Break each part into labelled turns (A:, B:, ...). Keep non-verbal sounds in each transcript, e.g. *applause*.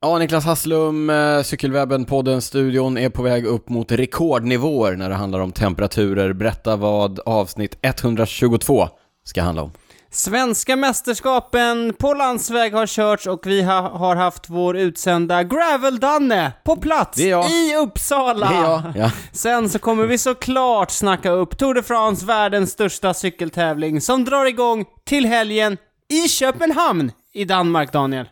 A: Ja, Niklas Hasslum, eh, Cykelwebben, podden, studion är på väg upp mot rekordnivåer när det handlar om temperaturer. Berätta vad avsnitt 122 ska handla om.
B: Svenska mästerskapen på landsväg har körts och vi ha, har haft vår utsända Gravel-Danne på plats
A: Det är jag.
B: i Uppsala.
A: Det är jag. Ah. Ja.
B: Sen så kommer vi såklart snacka upp Tour de France, världens största cykeltävling, som drar igång till helgen i Köpenhamn i Danmark, Daniel.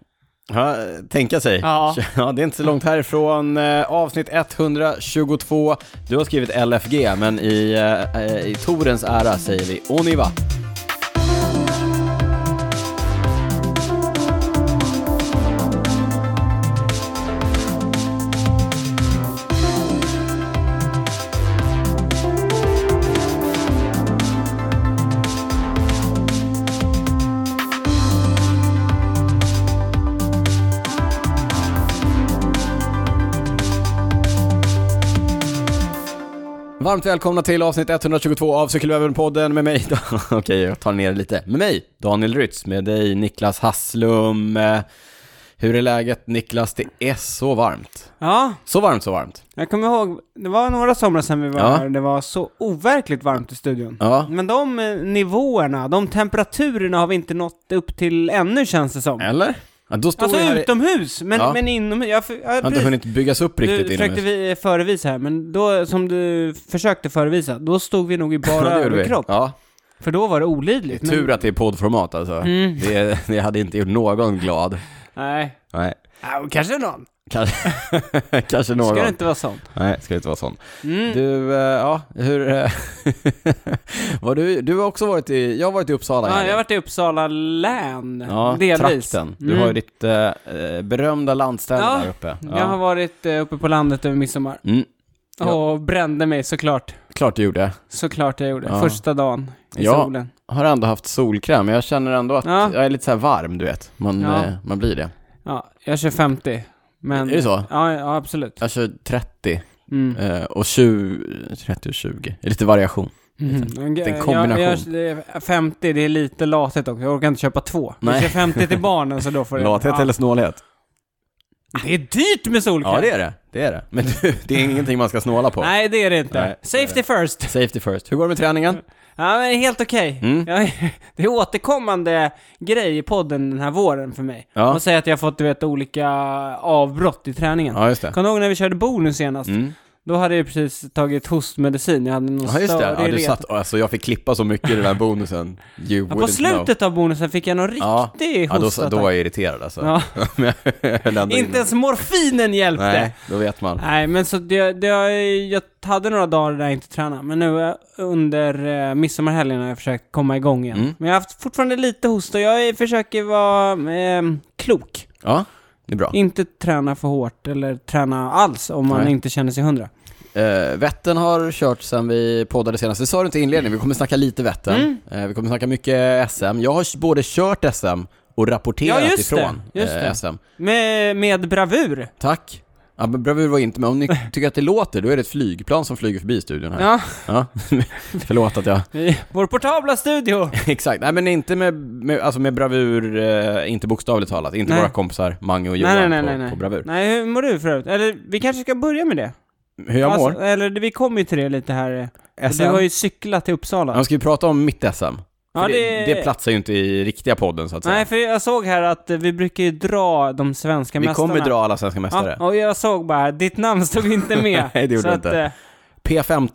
A: Ja, tänka sig.
B: Ja.
A: ja, det är inte så långt härifrån. Eh, Avsnitt 122. Du har skrivit LFG, men i, eh, eh, i Torens ära säger vi Oniva. Varmt välkomna till avsnitt 122 av Cykelwebben-podden med mig. *laughs* Okej, jag tar ner det lite. Med mig, Daniel Rytz, med dig, Niklas Hasslum. Eh, Hur är läget, Niklas? Det är så varmt.
B: Ja,
A: Så varmt, så varmt.
B: jag kommer ihåg, det var några somrar sedan vi var
A: Ja.
B: här och det var så overkligt varmt i studion.
A: Ja.
B: Men de eh, nivåerna, de temperaturerna har vi inte nått upp till ännu känns det som.
A: Eller? Ja, då står
B: Alltså
A: vi här i...
B: utomhus, men,
A: Ja.
B: men inomhus. Jag, för- jag,
A: Jag har inte
B: precis.
A: hunnit byggas upp
B: du
A: riktigt
B: försökte vi eh, förevisa här, men då, som du försökte förevisa, då stod
A: *laughs*
B: vi nog i bara
A: Ja, det gjorde vi.
B: överkropp.
A: Ja,
B: För då var det olidligt.
A: det är tur att det är poddformat alltså.
B: Mm.
A: Det, det hade inte gjort någon glad.
B: Men, nej.
A: Nej,
B: Ja, kanske någon.
A: kanske, *laughs* kanske någon.
B: Ska det inte vara sånt?
A: Nej, ska det inte vara sån.
B: Mm.
A: Du, eh, ja, hur... eh, *laughs* var du, du har också varit i, jag har varit i Uppsala i
B: Ja, jag
A: helgen.
B: har varit i Uppsala län,
A: Ja,
B: delvis.
A: trakten. Du
B: Mm.
A: har ju ditt eh, eh, berömda landställe
B: Ja,
A: där uppe.
B: Jag har varit eh, uppe på landet över midsommar.
A: mm, Ja.
B: Och brände mig såklart.
A: klart du gjorde.
B: Såklart jag gjorde.
A: Ja.
B: Första dagen i
A: Ja.
B: solen.
A: Har ändå haft solkräm, men jag känner ändå att
B: Ja.
A: jag är lite så här varm, du vet. Man,
B: Ja.
A: eh, man blir det.
B: Ja, jag kör 50. Men...
A: Är det så?
B: Ja, ja, absolut.
A: Jag kör 30
B: Mm.
A: eh, och 20, 30 och 20. Det är lite variation.
B: Mm.
A: Liksom. en kombination.
B: Jag, jag, det är 50, det är lite latet också. Jag orkar inte köpa två.
A: Nej.
B: Jag kör 50 till barnen så
A: *laughs*
B: då får det... ja.
A: snålhet?
B: Det är dyrt med solkräm!
A: Ja, det är det. Det är det. Men du, det är ingenting man ska snåla på.
B: Nej, det är det inte.
A: Nej.
B: Safety first!
A: Safety first. Hur går det med träningen?
B: Ja, men helt okej.
A: Mm.
B: Jag- *laughs* Det är återkommande grej i podden den här våren för mig.
A: Ja.
B: Man säger att jag har fått, du vet, olika avbrott i träningen.
A: Ja, just det.
B: Kommer du ihåg när vi körde bord nu senast?
A: Mm.
B: Då hade jag precis tagit hostmedicin, jag hade någon
A: Ja just det,
B: störig
A: ja, du
B: ret.
A: satt, alltså jag fick klippa så mycket i den där bonusen. You
B: ja, på
A: wouldn't know.
B: slutet av bonusen fick jag någon
A: Ja.
B: riktig
A: Ja, då,
B: hostattack.
A: då var jag irriterad alltså.
B: Ja.
A: *laughs* Men jag höll ändå
B: Inte
A: inne.
B: ens morfinen hjälpte!
A: Nej, då vet man.
B: Nej, men så det, det, jag hade några dagar där jag inte tränade, men nu eh, under eh, midsommarhelgen har jag försökt komma igång igen.
A: Mm.
B: Men jag har haft fortfarande lite hosta, jag är- försöker vara eh, klok.
A: Ja, det är bra.
B: Inte träna för hårt eller träna alls om man
A: Nej.
B: inte känner sig hundra.
A: Eh, Vättern har kört sen vi poddade senast. Det sa du inte i inledningen, vi kommer snacka lite Vättern.
B: Mm.
A: Eh, vi kommer snacka mycket SM. Jag har både kört SM och rapporterat
B: Ja, just
A: ifrån
B: det, just
A: eh,
B: det.
A: SM.
B: Med, med bravur.
A: Tack. Ja, men bravur var inte med. Om ni tycker att det låter, då är det ett flygplan som flyger förbi studion här. *laughs*
B: Ja,
A: Ja. Förlåt att jag...
B: i vår
A: *laughs*
B: portabla studio.
A: Exakt, nej men inte med, med, alltså med bravur, eh, inte bokstavligt talat, inte
B: Nej.
A: våra kompisar Mange och Johan
B: Nej, nej, nej,
A: på,
B: nej, nej.
A: på bravur.
B: Nej, hur mår du för övrigt? Eller vi kanske ska börja med det?
A: Hur jag mår?
B: Alltså, eller vi kommer ju till det lite här. eh.
A: SM?
B: Du har ju cyklat till Uppsala.
A: Ja, ska vi prata om mitt SM?
B: Ja,
A: För det, det platsar ju inte i riktiga podden så att säga.
B: Nej, för jag såg här att eh, vi brukar ju dra de svenska
A: vi
B: mästarna.
A: kommer dra alla svenska mästare.
B: Ja, och jag såg bara, här, ditt namn stod inte med.
A: *laughs* Nej, det gjorde
B: så
A: det
B: att,
A: inte.
B: eh, *laughs*
A: P15.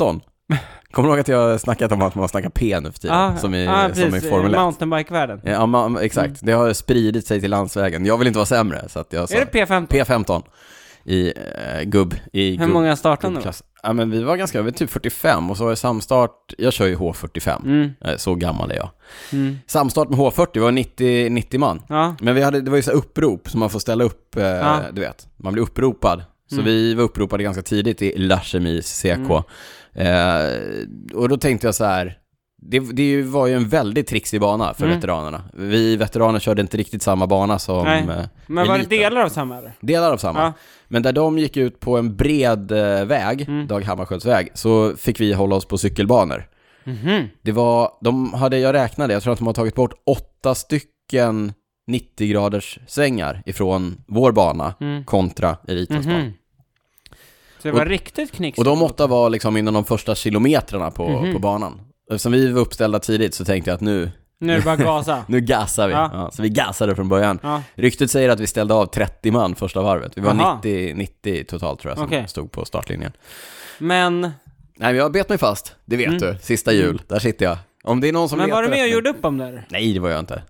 A: Kommer du ihåg att jag har snackat om att man snackar P nu för tiden?
B: ja,
A: som i,
B: ja,
A: som i
B: Ah, precis,
A: Formel 1.
B: Mountainbike-världen.
A: Ja, man, exakt. Det har spridit sig till landsvägen. Jag vill inte vara sämre, så att jag sa
B: Är det P15?
A: P15 i eh, gubb, i
B: Hur
A: gubb,
B: många startade då?
A: Klass. Ja, men vi var ganska, vi var typ 45 och så var det samstart, jag kör ju H45,
B: Mm,
A: Eh, så gammal är jag.
B: mm.
A: Samstart med H40 var 90, 90 man.
B: Ja,
A: Men vi hade, det var ju så här upprop som man får ställa upp, eh,
B: Ja.
A: du vet, man blir uppropad. Så
B: Mm.
A: vi var uppropade ganska tidigt i Larsemis CK.
B: Mm.
A: Eh, och då tänkte jag så här, det, det var ju en väldigt trixig bana för
B: Mm.
A: veteranerna. Vi veteraner körde inte riktigt samma bana som
B: Nej.
A: eh,
B: men var det
A: eliten.
B: delar av samma eller?
A: Delar av samma.
B: Ja.
A: Men där de gick ut på en bred eh, väg,
B: Mm.
A: Dag Hammarskjölds väg, så fick vi hålla oss på cykelbanor.
B: Mhm.
A: Det var, de hade, jag räknade, jag tror att de har tagit bort åtta stycken 90 graders svängar ifrån vår bana
B: Mm.
A: kontra Elitas
B: Mhm.
A: bana.
B: Så det var riktigt knix.
A: Och de åtta var liksom inom de första kilometrarna på,
B: Mhm.
A: på banan. Eftersom vi var uppställda tidigt så tänkte jag att nu,
B: Nu är det
A: *laughs*
B: bara gasa.
A: nu gasar vi. Ja.
B: Ja.
A: så vi gasade från början.
B: Ja.
A: Ryktet säger att vi ställde av 30 man första varvet. Vi var
B: Aha.
A: 90, 90 totalt tror jag som
B: Okej.
A: stod på startlinjen.
B: Men,
A: Nej men jag bet mig fast, det vet du. Sista jul, där sitter jag. Om det är någon som
B: Mm. men var
A: letar
B: du med och
A: efter-
B: gjorde upp om det där?
A: Nej det var jag inte.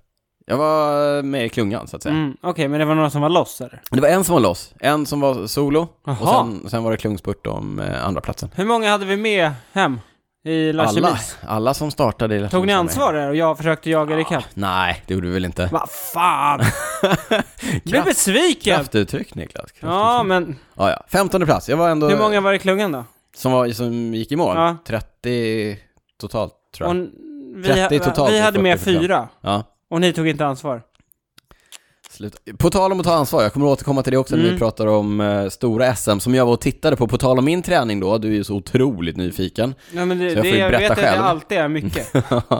A: Jag var eh, med i klungan så att säga.
B: Mm, Okej, men det var några som var loss eller?
A: Det var en som var loss, en som var solo och
B: Jaha.
A: sen, sen var det klungspurt om eh, andra platsen.
B: Hur många hade vi med hem i La
A: Alla,
B: Chemise?
A: alla som startade i La
B: Tog ni
A: Chemise var med.
B: ansvar där och jag försökte jaga dig ikapp?
A: Nej, det gjorde vi väl *laughs* inte.
B: Vad fan! Blir
A: Kraft-
B: besviken!
A: Kraftuttryck Niklas. Kraft. Ja.
B: Ja, men
A: Ja, ja. 15 plats, jag var ändå...
B: hur många var i klungan då?
A: Som, var, som gick i mål?
B: Ja.
A: 30 totalt tror
B: Och
A: jag.
B: n-
A: 30
B: vi,
A: totalt
B: vi
A: och
B: hade med
A: 40 procent.
B: fyra,
A: Ja.
B: och ni tog inte ansvar.
A: Slut. På tal om att ta ansvar, jag kommer att återkomma till det också när vi
B: Mm.
A: pratar om eh, stora SM som jag var och tittade på. På tal om min träning då, du är ju så otroligt nyfiken. *laughs*
B: Ja, men det,
A: Så jag får
B: det,
A: ju
B: jag
A: berätta
B: vet att det
A: själv. Mm.
B: alltid är mycket.
A: eh,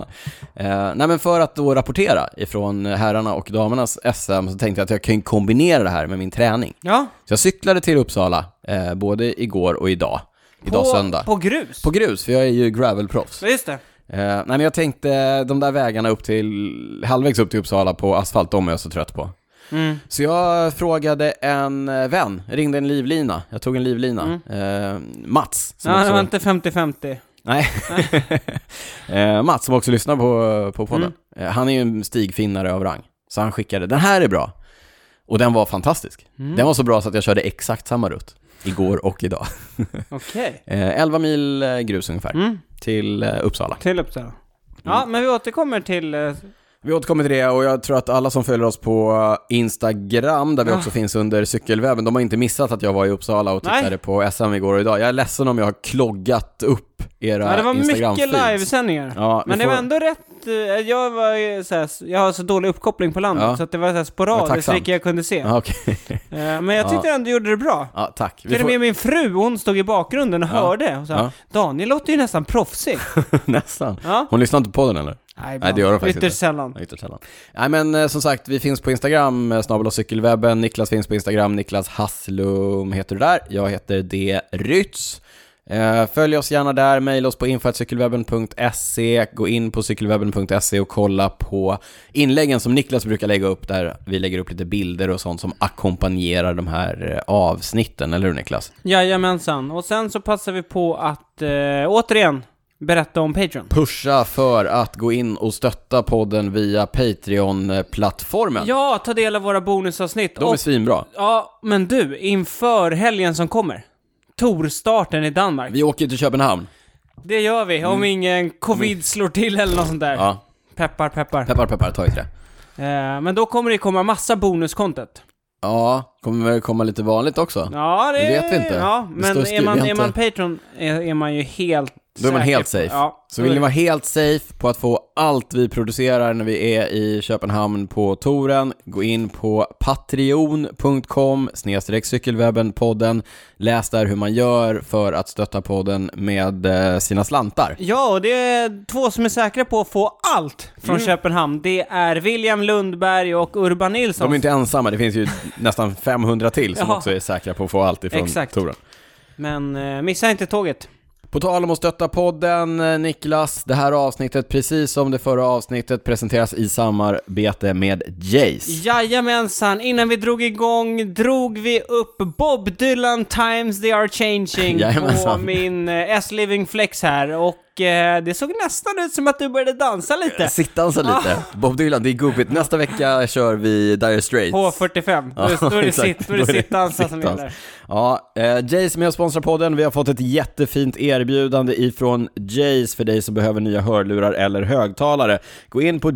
A: nej men för att då rapportera ifrån herrarna och damernas SM så tänkte jag att jag kan ju kombinera det här med min träning.
B: Ja,
A: Så jag cyklade till Uppsala, eh, både igår och idag. Idag söndag.
B: på grus.
A: På grus, för jag är ju gravelproffs.
B: Ja, Just det.
A: Eh, nej men jag tänkte, de där vägarna upp till, halvvägs upp till Uppsala på asfalt, de är jag så trött på.
B: Mm.
A: Så jag frågade en eh, vän, jag ringde en livlina, jag tog en livlina, eh, Mats, som
B: Mm. Ja, det
A: också,
B: var inte 50-50.
A: nej, *laughs* eh, Mats som också lyssnar på, på podden.
B: Mm.
A: Eh, han är ju en stigfinnare av rang, så han skickade, den här är bra. Och den var fantastisk.
B: Mm.
A: Den var så bra så att jag körde exakt samma rutt, igår och idag.
B: Okej.
A: Eh, 11 mil eh, grus ungefär,
B: Mm.
A: till eh, Uppsala.
B: Till Uppsala. Ja, men vi återkommer till... eh,
A: Vi återkommer till det och jag tror att alla som följer oss på eh, Instagram, där vi också finns under cykelwebben, de har inte missat att jag var i Uppsala och
B: Ah. Nej.
A: tittade på SM igår och idag. Jag är ledsen om jag har kloggat upp era
B: Ja, det var mycket
A: Instagram-feeds.
B: livesändningar.
A: Ja, vi
B: men det var
A: får-
B: ändå rätt... eh, Jag var ju så här, jag har så dålig uppkoppling på landet,
A: Ja.
B: så att det var så här
A: Vad
B: sporadiskt
A: tacksamt.
B: vilka jag kunde se.
A: Ja, okej.
B: Eh, Men jag tyckte ändå du gjorde det bra.
A: ja, tack. Vi
B: Till och
A: får...
B: med min fru, hon stod i bakgrunden och hörde. Och sa,
A: Ja.
B: Daniel låter ju
A: *laughs*
B: nästan proffsig.
A: Nästan.
B: Ja.
A: Hon lyssnar inte på den eller? Nej, det gör hon faktiskt
B: Ytterst
A: inte.
B: sällan.
A: Mm. Ja, Ytterst sällan. Nej men eh, som sagt, vi finns på Instagram, eh, snabel och cykelwebben. Niklas finns på Instagram, Niklas Hasslum heter du där. Jag heter D. Rytz. Eh, Följ oss gärna där, mejla oss på info.cykelwebben.se, gå in på cykelwebben.se och kolla på inläggen som Niklas brukar lägga upp där vi lägger upp lite bilder och sånt som ackompanjerar de här eh, avsnitten, eller hur Niklas?
B: Jajamensan. Och sen så passar vi på att eh, återigen berätta om Patreon.
A: Pusha för att gå in och stötta podden via Patreon-plattformen.
B: Ja, ta del av våra bonusavsnitt.
A: De är
B: Och,
A: svinbra.
B: ja, men du, inför helgen som kommer. Torstarten i Danmark.
A: Vi åker till Köpenhamn.
B: Det gör vi, om ingen covid slår till eller något sånt där.
A: Mm. Ja.
B: Peppar, peppar.
A: Peppar, peppar, ta i trä.
B: Eh, men då kommer det komma massa bonuscontent.
A: Ja, kommer väl komma lite vanligt också.
B: Ja, det,
A: Det vet vi inte.
B: Ja,
A: Det står
B: men är
A: skrivet,
B: man,
A: vi har
B: är man
A: inte-
B: Patreon är, är man ju helt
A: Då är man
B: säker
A: helt
B: på-
A: safe.
B: Ja,
A: Så vill ni vara helt safe på att få allt vi producerar när vi är i Köpenhamn på touren, gå in på patreon.com snedstreck cykelwebben-podden. Läs där hur man gör för att stötta podden med eh, sina slantar.
B: Ja, och det är två som är säkra på att få allt från Köpenhamn. Det är William Lundberg och Urban Nilsson.
A: Mm. De är inte ensamma, det finns ju nästan 500 till som
B: Ja.
A: också är säkra på att få allt ifrån
B: Exakt.
A: touren.
B: Men eh, missa inte tåget.
A: På tal om att stötta podden, eh, Niklas, det här avsnittet, precis som det förra avsnittet, presenteras i samarbete med Jace.
B: Jajamensan, innan vi drog igång drog vi upp Bob Dylan Times They Are *laughs* Changing på
A: Jajamensan.
B: min eh, S-Living Flex här och eh, det såg nästan ut som att du började dansa lite.
A: Sittansa
B: Ah.
A: lite. Bob Dylan, det är gubbigt. Nästa vecka kör vi Dire Straits.
B: H45,
A: Ja,
B: Just *laughs* då är
A: *laughs*
B: det
A: exakt.
B: sitt, då är det sittdansa som
A: sittdans.
B: gäller.
A: Ja, eh, Jace är med och sponsrar podden. Vi har fått ett jättefint erbjudande ifrån Jace för dig som behöver nya hörlurar eller högtalare. Gå in på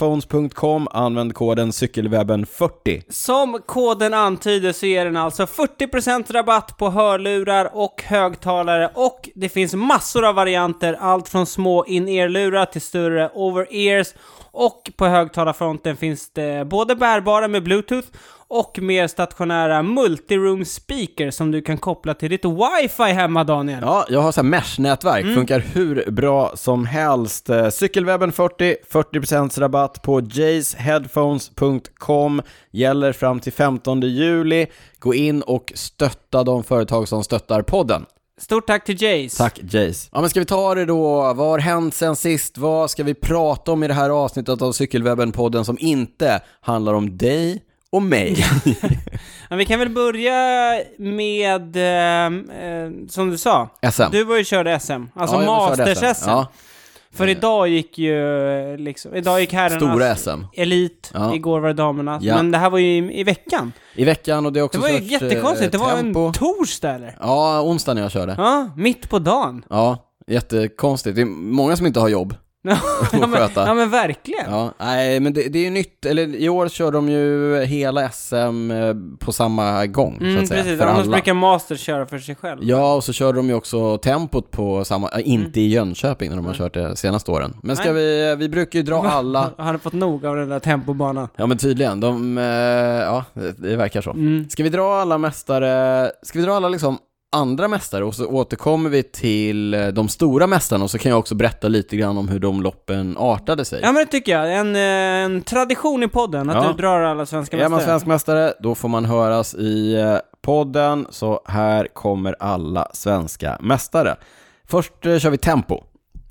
A: jaceheadphones.com, använd koden cykelwebben40.
B: Som koden antyder så ger den alltså 40% rabatt på hörlurar och högtalare och det finns massor av varianter, allt från små in-ear-lurar till större over-ears Och på högtalarfronten finns det både bärbara med Bluetooth och mer stationära multiroom speaker som du kan koppla till ditt wifi hemma Daniel.
A: Ja, jag har så här mesh-nätverk,
B: Mm.
A: funkar hur bra som helst. Eh, Cykelwebben 40, 40% rabatt på jaysheadphones.com, gäller fram till 15 juli. Gå in och stötta de företag som stöttar podden.
B: Stort tack till Jace.
A: Tack Jace. Ja men ska vi ta det då? Vad har hänt sen sist? Vad ska vi prata om i det här avsnittet av Cykelwebben-podden som inte handlar om dig och
B: *laughs*
A: mig?
B: Men vi kan väl börja med, ehm, eh, som du sa,
A: SM.
B: du var ju körde SM, alltså
A: Ja, jag vill köra
B: Masters-SM.
A: Ja,
B: För idag gick ju, eh, liksom, idag gick herrarnas
A: Eh, stora SM.
B: elit,
A: Ja.
B: igår var det damernas,
A: Ja.
B: men det här var ju i, i veckan.
A: I veckan och det är
B: Det
A: också
B: var ju
A: sorts, eh,
B: jättekonstigt, det var
A: tempo.
B: en torsdag eller?
A: Ja, onsdag när jag körde.
B: Ja, mitt på dagen. *laughs*
A: Ja, jättekonstigt. Det är många som inte har jobb.
B: ja, men,
A: sköta.
B: ja men verkligen.
A: Ja, nej, men det, det är ju nytt. Eller i år kör de ju hela SM eh, på samma gång, så
B: mm,
A: att säga.
B: precis,
A: för
B: annars
A: alla.
B: brukar Masters köra för sig själv.
A: Ja, och så körde de ju också tempot på samma, äh, inte i Jönköping när de har kört det senaste åren. Men ska
B: Mm. Nej.
A: vi, vi brukar ju dra alla,
B: Han *laughs* hade fått nog av den där tempobanan.
A: ja men tydligen, de, eh, ja det, det verkar så.
B: Mm.
A: Ska vi dra alla mästare, ska vi dra alla liksom andra mästare och så återkommer vi till eh, de stora mästarna och så kan jag också berätta lite grann om hur de loppen artade sig.
B: Ja men det tycker jag, en, eh, en tradition i podden att
A: Ja.
B: du drar alla svenska
A: Är man
B: mästare.
A: svensk mästare, då får man höras i eh, podden, så här kommer alla svenska mästare. Först eh, kör vi tempo.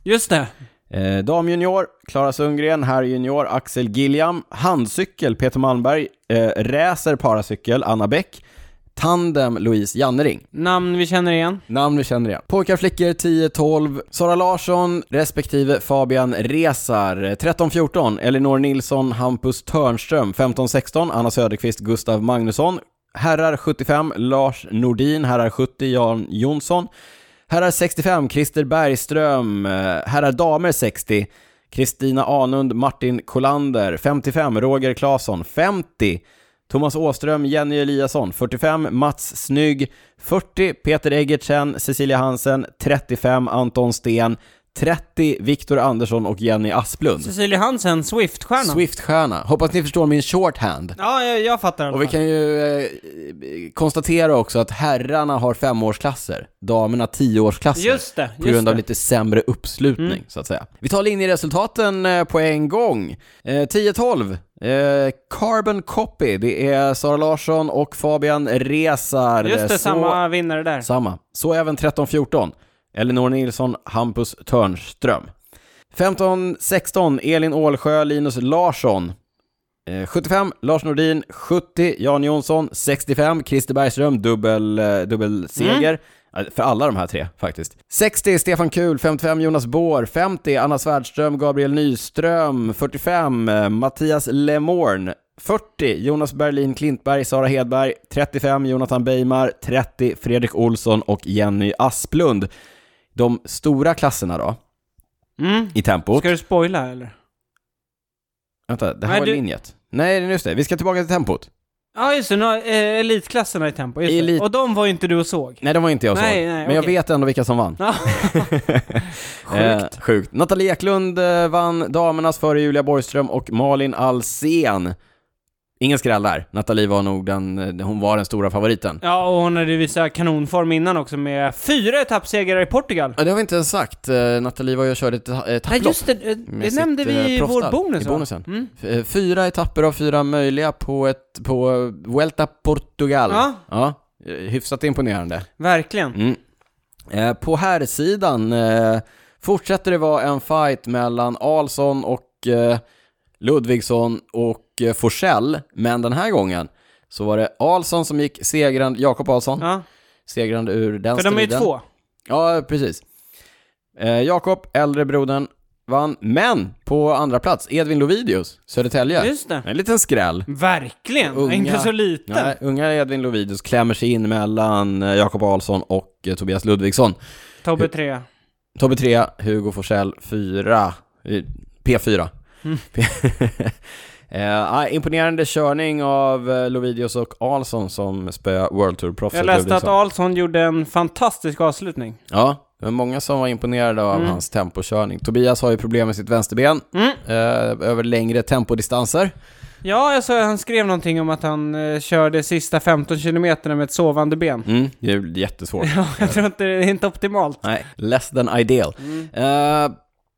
B: Just det.
A: Eh, damjunior, Klara Sundgren, herrjunior, Axel Gilliam, handcykel, Peter Malmberg, eh, racer, paracykel, Anna Bäck, tandem, Louise Jannering.
B: Namn vi känner igen.
A: Namn vi känner igen. Pojkar, flickor, 10-12, Sara Larsson respektive Fabian Resar, 13-14, Elinor Nilsson, Hampus Törnström, 15-16, Anna Söderqvist, Gustav Magnusson, herrar 75, Lars Nordin, herrar 70, Jan Jonsson, herrar 65, Christer Bergström, eh, herrar damer 60, Kristina Anund, Martin Kolander, 55, Roger Claesson, 50, Thomas Åström, Jenny Eliasson, 45, Mats Snygg, 40, Peter Eggertsen, Cecilia Hansen, 35, Anton Sten, 30, Viktor Andersson och Jenny Asplund.
B: Cecilia Hansen, Swift-stjärnan.
A: Swift-stjärna. Hoppas ni förstår min shorthand.
B: Ja, jag, jag fattar i alla
A: Och vi
B: fall.
A: kan ju eh, konstatera också att herrarna har femårsklasser, damerna tioårsklasser.
B: Just det,
A: På grund
B: just
A: av
B: det. Mm.
A: lite sämre uppslutning, så att säga. Vi tar linjeresultaten eh, på en gång. Eh, 10-12, eh, Carbon Copy, det är Sara Larsson och Fabian Resar.
B: Just det,
A: Så-
B: samma vinnare där.
A: Samma. Så även 13-14, Elinor Nilsson, Hampus Törnström. 15-16, Elin Ålsjö, Linus Larsson. Eh, 75, Lars Nordin. 70, Jan Jonsson. 65, Christer Bergström, dubbel, eh, dubbel seger. Eh, För alla de här tre faktiskt. 60, Stefan Kuhl. 55, Jonas Båhr. 50, Anna Svärdström, Gabriel Nyström. 45, eh, Mattias Lemorn. 40, Jonas Berlin Klintberg, Sara Hedberg. 35, Jonathan Beijmar. 30, Fredrik Olsson och Jenny Asplund. De stora klasserna då,
B: Mm.
A: i tempot.
B: Ska du spoila eller?
A: Vänta, det här
B: Nej,
A: var
B: du-
A: linjet. Nej, just det. Vi ska tillbaka till tempot.
B: Ja, just det. Nu, har, eh, elitklasserna i tempo. Just
A: Elit-
B: det. Och de var ju inte du och såg.
A: Nej, det var inte jag som
B: Nej,
A: såg.
B: nej,
A: Men jag
B: okej.
A: vet ändå vilka som vann. *laughs*
B: Ja. *laughs* Sjukt.
A: Eh, sjukt. Nathalie Eklund eh, vann damernas före Julia Borgström och Malin Alsen. Ingen skräll där. Nathalie var nog den, eh, hon var den stora favoriten.
B: Ja, och hon hade ju visat kanonform innan också med fyra etappsegrar i Portugal.
A: Ja, det har vi inte ens sagt. Eh, Nathalie var ju och körde ett ta- eh,
B: Nej,
A: etapplopp.
B: just det. eh,
A: med
B: Det
A: sitt,
B: nämnde
A: eh,
B: vi i
A: proffsstall,
B: vår bonus,
A: i
B: va?
A: bonusen.
B: Mm.
A: F- eh, Fyra etapper av fyra möjliga på ett, på eh, Vuelta Portugal.
B: Ja.
A: ja. eh, Hyfsat imponerande.
B: Verkligen.
A: Mm. Eh, på här sidan eh, fortsätter det vara en fight mellan Ahlsson och eh, Ludvigsson och eh, Forsell, men den här gången så var det Ahlsson som gick segrande, Jakob Ahlsson,
B: Ja,
A: segrande ur den
B: för de är ju
A: striden.
B: två.
A: Ja, precis. Eh, Jakob, äldre brodern, vann, men på andra plats Edvin Lovidius, Södertälje.
B: Just det.
A: En liten skräll.
B: Verkligen.
A: Unga.
B: Inte så liten.
A: Nej, unga Edvin Lovidius klämmer sig in mellan eh, Jakob Ahlsson och eh, Tobias Ludvigsson.
B: Tobbe tre.
A: Tobbe 3, Hugo Forsell 4, P4.
B: Mm.
A: *laughs* Eh, ja, imponerande körning av eh, Lovidius och Ahlsson som spöade World Tour-proffset
B: Jag läste att
A: Ludvigsson.
B: Ahlsson gjorde en fantastisk avslutning.
A: Ja, Det var många som var imponerade av hans tempokörning. Tobias har ju problem med sitt vänsterben
B: Mm.
A: eh, över längre tempodistanser.
B: Ja, jag såg att han skrev någonting om att han eh, körde sista 15 kilometerna med ett sovande ben.
A: Mm, det är jättesvårt.
B: Ja, jag tror inte det är inte optimalt.
A: Nej, less than ideal.
B: Mm.
A: Eh,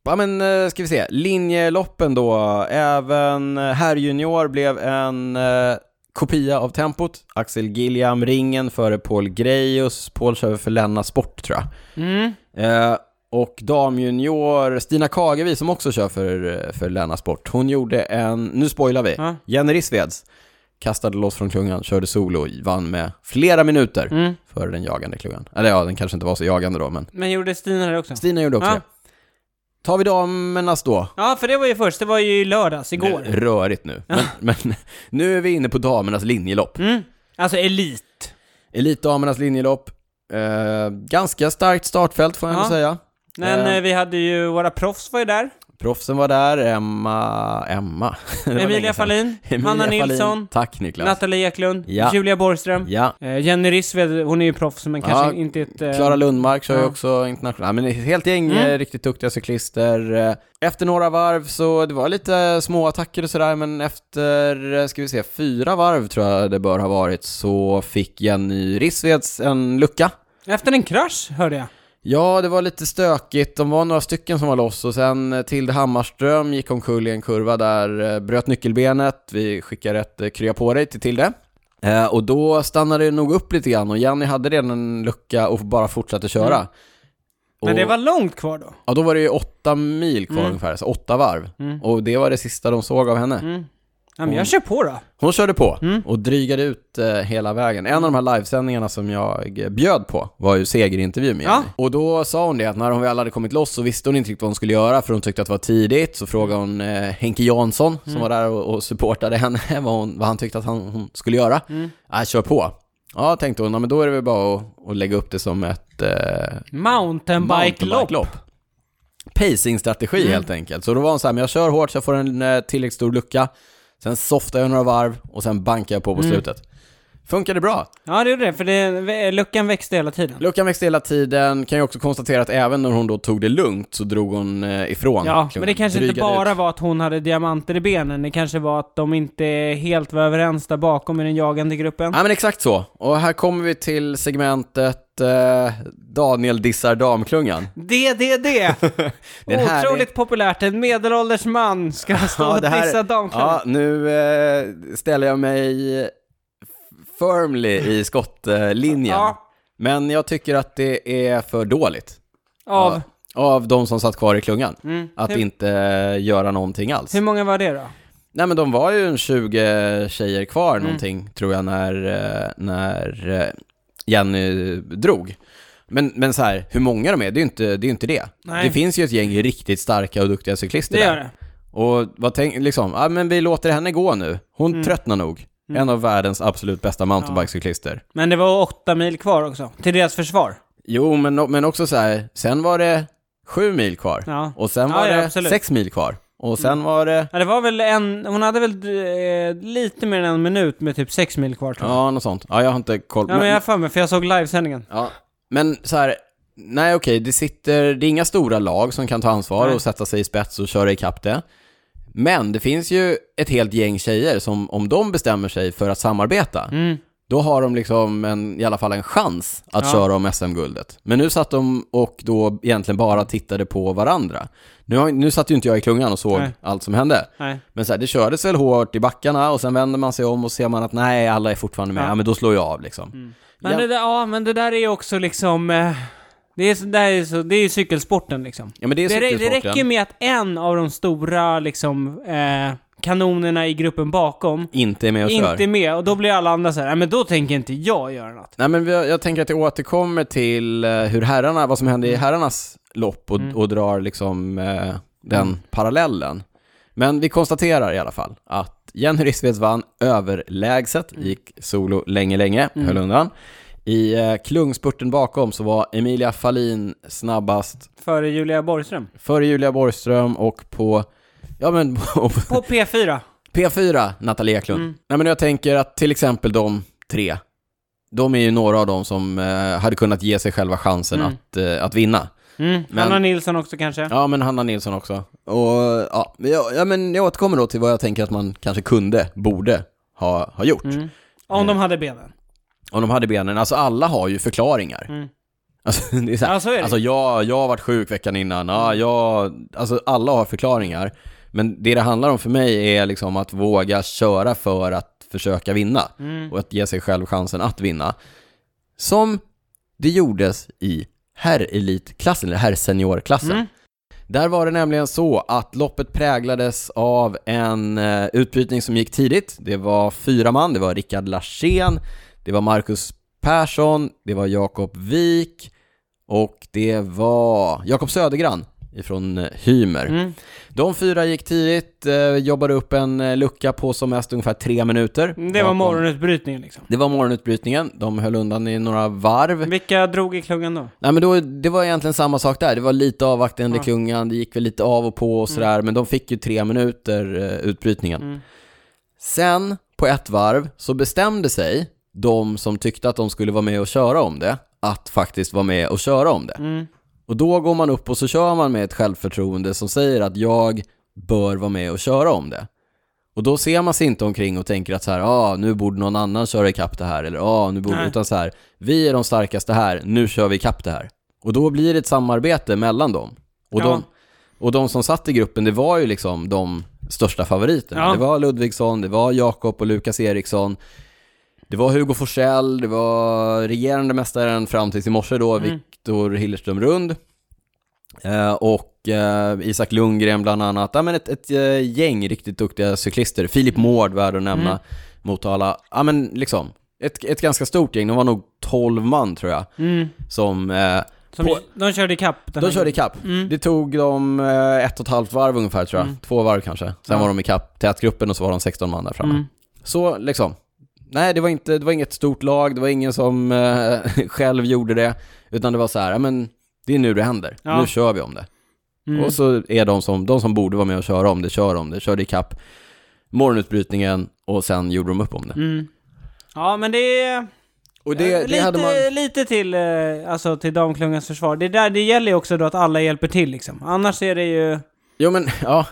A: ja, men eh, ska vi se. Linjeloppen då. Även herr junior blev en eh, kopia av tempot. Axel Gilliam ringen före Paul Grejus. Paul kör för Länna Sport tror jag.
B: Mm.
A: Eh, och damjunior Stina Kagevi som också kör för, eh, för Länna Sport. Hon gjorde en, nu spoilar vi,
B: Ja.
A: Jenny Rissveds kastade loss från klungan, körde solo, vann med flera minuter
B: Mm.
A: före den jagande klungan. Eller ja, den kanske inte var så jagande då, men
B: Men gjorde Stina det också?
A: Stina gjorde också
B: Ja.
A: det. Tar vi damernas då?
B: Ja, för det var ju först. Det var ju i lördags,
A: Det
B: igår.
A: är Rörigt nu. Men, men *laughs* nu är vi inne på damernas linjelopp.
B: Mm. Alltså elit.
A: Elitdamernas linjelopp. Eh, ganska starkt startfält får jag ändå
B: Ja.
A: säga.
B: Men
A: Eh.
B: eh, vi hade ju, våra proffs var ju där.
A: Proffsen var där, Emma... Emma? *laughs* Det var länge
B: Emilia
A: sedan.
B: Fahlin,
A: *laughs* Emilia
B: Hanna
A: Fahlin.
B: Nilsson,
A: Tack Niklas.
B: Nathalie Eklund,
A: Ja.
B: Julia Borgström.
A: Ja.
B: Eh, Jenny Rissved, hon är ju proffs men kanske
A: Ja,
B: inte ett... eh,
A: Klara Lundmark kör ju
B: ja.
A: också internationellt. Men ett helt gäng
B: Mm.
A: eh, riktigt duktiga cyklister. Eh, Efter några varv så, det var lite små attacker och sådär, men efter, eh, ska vi se, fyra varv tror jag det bör ha varit, så fick Jenny Rissveds en lucka.
B: Efter en krasch, hörde jag.
A: Ja, det var lite stökigt. De var några stycken som var loss och sen eh, Tilde Hammarström gick omkull i en kurva där, eh, bröt nyckelbenet. Vi skickar ett eh, krya på dig till Tilde. Eh, och då stannade det nog upp lite grann och Jenny hade redan en lucka och bara fortsatte köra.
B: Mm. Men
A: Och-
B: det var långt kvar då.
A: Ja, då var det ju åtta mil kvar
B: Mm.
A: ungefär, så åtta varv.
B: Mm.
A: Och det var det sista de såg av henne.
B: Mm. Ja, men
A: Hon-
B: jag kör på då.
A: Hon körde på
B: Mm.
A: och drygade ut eh, hela vägen. En av de här livesändningarna som jag eh, bjöd på var ju segerintervju med
B: Ja.
A: Jenny. Och då sa hon det att när hon väl hade kommit loss så visste hon inte riktigt vad hon skulle göra för hon tyckte att det var tidigt. Så frågade hon eh, Henke Jansson som
B: Mm.
A: var där och, och supportade henne *laughs* vad, hon, vad han tyckte att han, hon skulle göra.
B: Mm.
A: Äh, kör på. Ja, tänkte hon, ja, men då är det väl bara att, att lägga upp det som ett eh,
B: Mountainbike-lopp.
A: Pacing-strategi
B: Mm.
A: helt enkelt. Så då var hon så här, men jag kör hårt så jag får en eh, tillräckligt stor lucka. Sen softar jag några varv och sen bankar jag på på
B: Mm.
A: slutet. Funkade bra.
B: Ja, det gjorde det, för det, luckan växte hela tiden.
A: Luckan växte hela tiden. Kan ju också konstatera att även när hon då tog det lugnt så drog hon eh, ifrån.
B: Ja, men det
A: Klungan.
B: kanske inte
A: Drygade
B: bara
A: ut.
B: var att hon hade diamanter i benen, det kanske var att de inte helt var överens där bakom i den jagande gruppen.
A: Ja, men exakt så. Och här kommer vi till segmentet eh, Daniel dissar damklungan. *laughs*
B: DDD!
A: Den här är-
B: Otroligt populärt, en medelålders man ska stå
A: Ja,
B: och
A: det här-
B: dissa damklubben.
A: Ja, nu eh, ställer jag mig firmly i skottlinjen.
B: Ja.
A: Men jag tycker att det är för dåligt.
B: Av?
A: Ja, Av de som satt kvar i klungan.
B: Mm.
A: Att
B: hur,
A: inte göra någonting alls.
B: hur många var det då?
A: Nej men de var ju en 20 tjejer kvar
B: Mm.
A: någonting, tror jag, när, eh, när eh, Jenny drog. Men, men så här, hur många de är, det är ju inte det. Är ju inte det.
B: Nej.
A: det finns ju ett gäng riktigt starka och duktiga cyklister
B: Det
A: där.
B: gör det.
A: Och vad tänk, liksom, ja men vi låter henne gå nu. Hon
B: Mm.
A: tröttnar nog. En av världens absolut bästa mountainbikecyklister.
B: Men det var åtta mil kvar också, till deras försvar.
A: Jo, men, men också så här, sen var det sju mil kvar.
B: Ja.
A: Och sen
B: Ja,
A: var
B: ja,
A: det
B: absolut. Mm.
A: sex mil kvar. Och sen var det,
B: Ja, det var väl en, hon hade väl eh, lite mer än en minut med typ sex mil kvar tror jag.
A: ja något sånt. Ja, jag har inte koll.
B: Ja, men jag har för mig, för jag såg livesändningen.
A: ja. men så här, nej okej, det sitter, det är inga stora lag som kan ta ansvar
B: Nej.
A: och sätta sig i spets och köra ikapp det. Men det finns ju ett helt gäng tjejer som, om de bestämmer sig för att samarbeta,
B: Mm.
A: då har de liksom en, i alla fall en chans att
B: Ja.
A: köra om SM-guldet. Men nu satt de och då egentligen bara tittade på varandra. Nu, har, nu satt ju inte jag i klungan och såg
B: Nej.
A: allt som hände.
B: Nej.
A: Men så här, det kördes väl hårt i backarna och sen vänder man sig om och ser man att nej, alla är fortfarande med. Ja,
B: Ja. Mm.
A: men då slår jag av liksom.
B: Men
A: Ja.
B: det där, ja, men det där är ju också liksom... eh, Det är, så- det, här är så, det är ju cykelsporten liksom.
A: Ja, men det är
B: Det, rä- det
A: cykelsporten.
B: räcker med att en av de stora liksom, eh, kanonerna i gruppen bakom
A: Inte är med och kör.
B: inte är med och då blir alla andra så här, "Nej, men då tänker inte jag göra något.
A: Nej, men vi, jag tänker att det återkommer till eh, hur herrarna, vad som hände i herrarnas lopp och, och drar liksom eh, den parallellen. Men vi konstaterar i alla fall att Jenny Rissveds vann överlägset, gick solo länge, länge, höll undan. I eh, klungspurten bakom så var Emilia Fahlin snabbast
B: Före Julia Borgström.
A: före Julia Borgström och på, ja men *laughs* på
B: På P4.
A: P4, Nathalie Eklund.
B: Mm.
A: Nej, men jag tänker att till exempel de tre, de är ju några av dem som eh, hade kunnat ge sig själva chansen
B: Mm.
A: att, eh, att vinna.
B: Mm.
A: Men-
B: Anna Nilsson också kanske?
A: Ja, men Hanna Nilsson också. Och ja, men jag, ja, men jag återkommer då till vad jag tänker att man kanske kunde, borde ha, ha gjort.
B: Mm. Om
A: Mm.
B: de hade benen.
A: Om de hade benen, alltså alla har ju förklaringar.
B: Mm.
A: Alltså, *laughs* det är så här,
B: Ja, så är det. Mm.
A: alltså jag, jag har varit sjuk veckan innan, ja, jag, alltså alla har förklaringar. Men det det handlar om för mig är liksom att våga köra för att försöka vinna.
B: Mm.
A: Mm. Och att ge sig själv chansen att vinna. Som det gjordes i herrelitklassen, eller herrseniorklassen.
B: Mm.
A: Där var det nämligen så att loppet präglades av en eh, utbrytning som gick tidigt. Det var fyra man, det var Rickard Larsén, det var Marcus Persson, det var Jakob Wik och det var Jakob Södergran ifrån eh, Hymer.
B: Mm.
A: De fyra gick tidigt, eh, jobbade upp en eh, lucka på som mest ungefär tre minuter.
B: Det var
A: bakom-
B: morgonutbrytningen liksom.
A: Det var morgonutbrytningen, de höll undan i några varv.
B: Vilka drog i klungan då?
A: Nej men då, det var egentligen samma sak där. Det var lite avvaktande i
B: Ja.
A: klungan, det gick väl lite av och på och sådär, men de fick ju tre minuter eh, utbrytningen.
B: Mm.
A: Sen, på ett varv, så bestämde sig de som tyckte att de skulle vara med och köra om det, att faktiskt vara med och köra om det.
B: Mm.
A: Och då går man upp och så kör man med ett självförtroende som säger att jag bör vara med och köra om det. Och då ser man sig inte omkring och tänker att så här, ah, nu borde någon annan köra ikapp det här, eller ah, nu borde,
B: Nej.
A: utan så här, vi är de starkaste här, nu kör vi ikapp det här. Och då blir det ett samarbete mellan dem. Och,
B: Ja.
A: de, och de som satt i gruppen, det var ju liksom de största favoriterna.
B: Ja.
A: Det var Ludvigsson, det var Jakob och Lukas Eriksson, det var Hugo Forsell, det var regerande mästaren fram tills i morse då,
B: Mm.
A: Viktor Hillerström Rund. Eh, och eh, Isak Lundgren bland annat. Ja, men ett, ett eh, gäng riktigt duktiga cyklister. Filip
B: Mm.
A: Mård, värd att nämna, Motala. Ja, men liksom, ett, ett ganska stort gäng. De var nog 12 man tror jag.
B: Mm.
A: Som, eh,
B: Som,
A: På-
B: De körde ikapp den
A: de
B: här
A: körde
B: gruppen.
A: ikapp.
B: Mm.
A: Det tog dem eh, ett och ett halvt varv ungefär tror jag.
B: Mm.
A: Två varv kanske. Sen
B: Ja.
A: var de ikapp tätgruppen och så var de 16 man där framme.
B: Mm.
A: Så liksom, nej det var, inte, det var inget stort lag, det var ingen som eh, *laughs* själv gjorde det, utan det var så här, ja men det är nu det händer,
B: Ja.
A: nu kör vi om det.
B: Mm.
A: Och så är de som, de som borde vara med och köra om det, kör om det, körde ikapp morgonutbrytningen och sen gjorde de upp om det.
B: Mm. Ja, men det är...
A: Och det, det
B: lite,
A: hade man...
B: lite till, eh, alltså, till damklungans försvar. Det, där, det gäller ju också då att alla hjälper till liksom. Annars är det ju...
A: Jo men, *laughs* ja.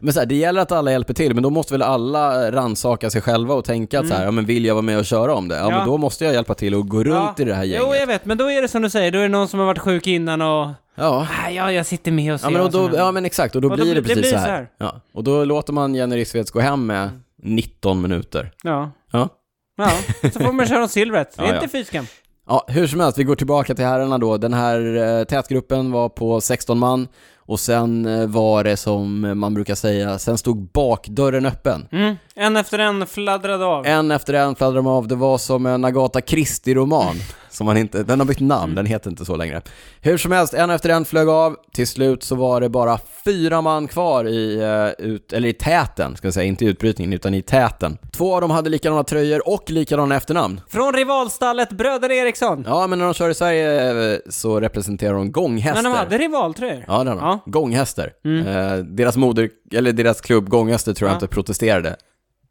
A: men så här, det gäller att alla hjälper till, men då måste väl alla ransaka sig själva och tänka att så här, ja men vill jag vara med och köra om det? Ja,
B: Mm. Ja.
A: men då måste jag hjälpa till och gå runt i det här
B: Jo,
A: gänget.
B: jag vet. Men då är det som du säger, då är det någon som har varit sjuk innan och...
A: Ja.
B: Ah, ja, jag sitter med och ser
A: Ja men, och
B: vad som
A: då,
B: händer.
A: ja men exakt, och då
B: Och då
A: blir det,
B: blir- det
A: precis
B: blir
A: så här.
B: så här.
A: Ja. Och då låter man Jenny Rissveds gå hem med 19 minuter.
B: ja.
A: Ja.
B: Ja, så får man köra om silvret. Det är
A: Ja, ja.
B: inte fy skam.
A: ja, hur som helst, vi går tillbaka till herrarna då. Den här eh, tätgruppen var på 16 man och sen eh, var det som man brukar säga, sen stod bakdörren öppen.
B: Mm. En efter en fladdrade av.
A: En efter en fladdrade de av, det var som en Agatha Christie-roman. Som man inte, den har bytt
B: Mm.
A: namn, den heter inte så längre. Hur som helst, en efter en flög av. Till slut så var det bara fyra man kvar i, eh, ut, eller i täten, ska jag säga, inte i utbrytningen, utan i täten. Två av dem hade likadana tröjor och likadana efternamn.
B: Från rivalstallet Bröder Eriksson.
A: Ja, men när de kör i Sverige eh, så representerar de gånghästar.
B: Men de hade rivaltröjor.
A: Ja, det hade de.
B: Ja. Mm.
A: Gånghästar. Eh, deras moder, eller deras klubb Gånghäster tror jag
B: Ja.
A: inte protesterade.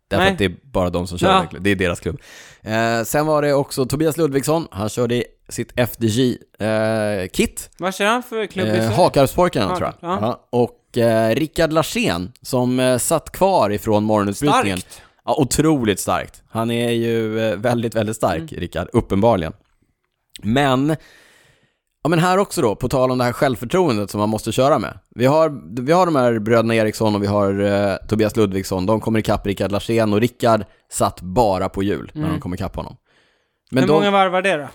A: Därför
B: Nej.
A: att det är bara de som kör,
B: Ja.
A: verkligen. det är deras klubb. Eh, sen var det också Tobias Ludvigsson, han körde i sitt FDJ-kit.
B: Vad kör han för klubb i
A: Eh,
B: Sverige?
A: Hakarpstorkarna
B: Ja,
A: tror jag.
B: ja.
A: Ja. Och eh, Rickard Larsén, som eh, satt kvar ifrån morgonutbrytningen.
B: Starkt.
A: Ja, otroligt starkt. Han är ju eh, väldigt, väldigt stark,
B: Mm.
A: Rickard, uppenbarligen. Men, ja men här också då, på tal om det här självförtroendet som man måste köra med. Vi har, vi har de här bröderna Eriksson och vi har eh, Tobias Ludvigsson, de kommer ikapp Rickard Larsén och Rickard satt bara på hjul när de kom ikapp honom. Men
B: Mm.
A: Mm. de,
B: Hur många varv var det då?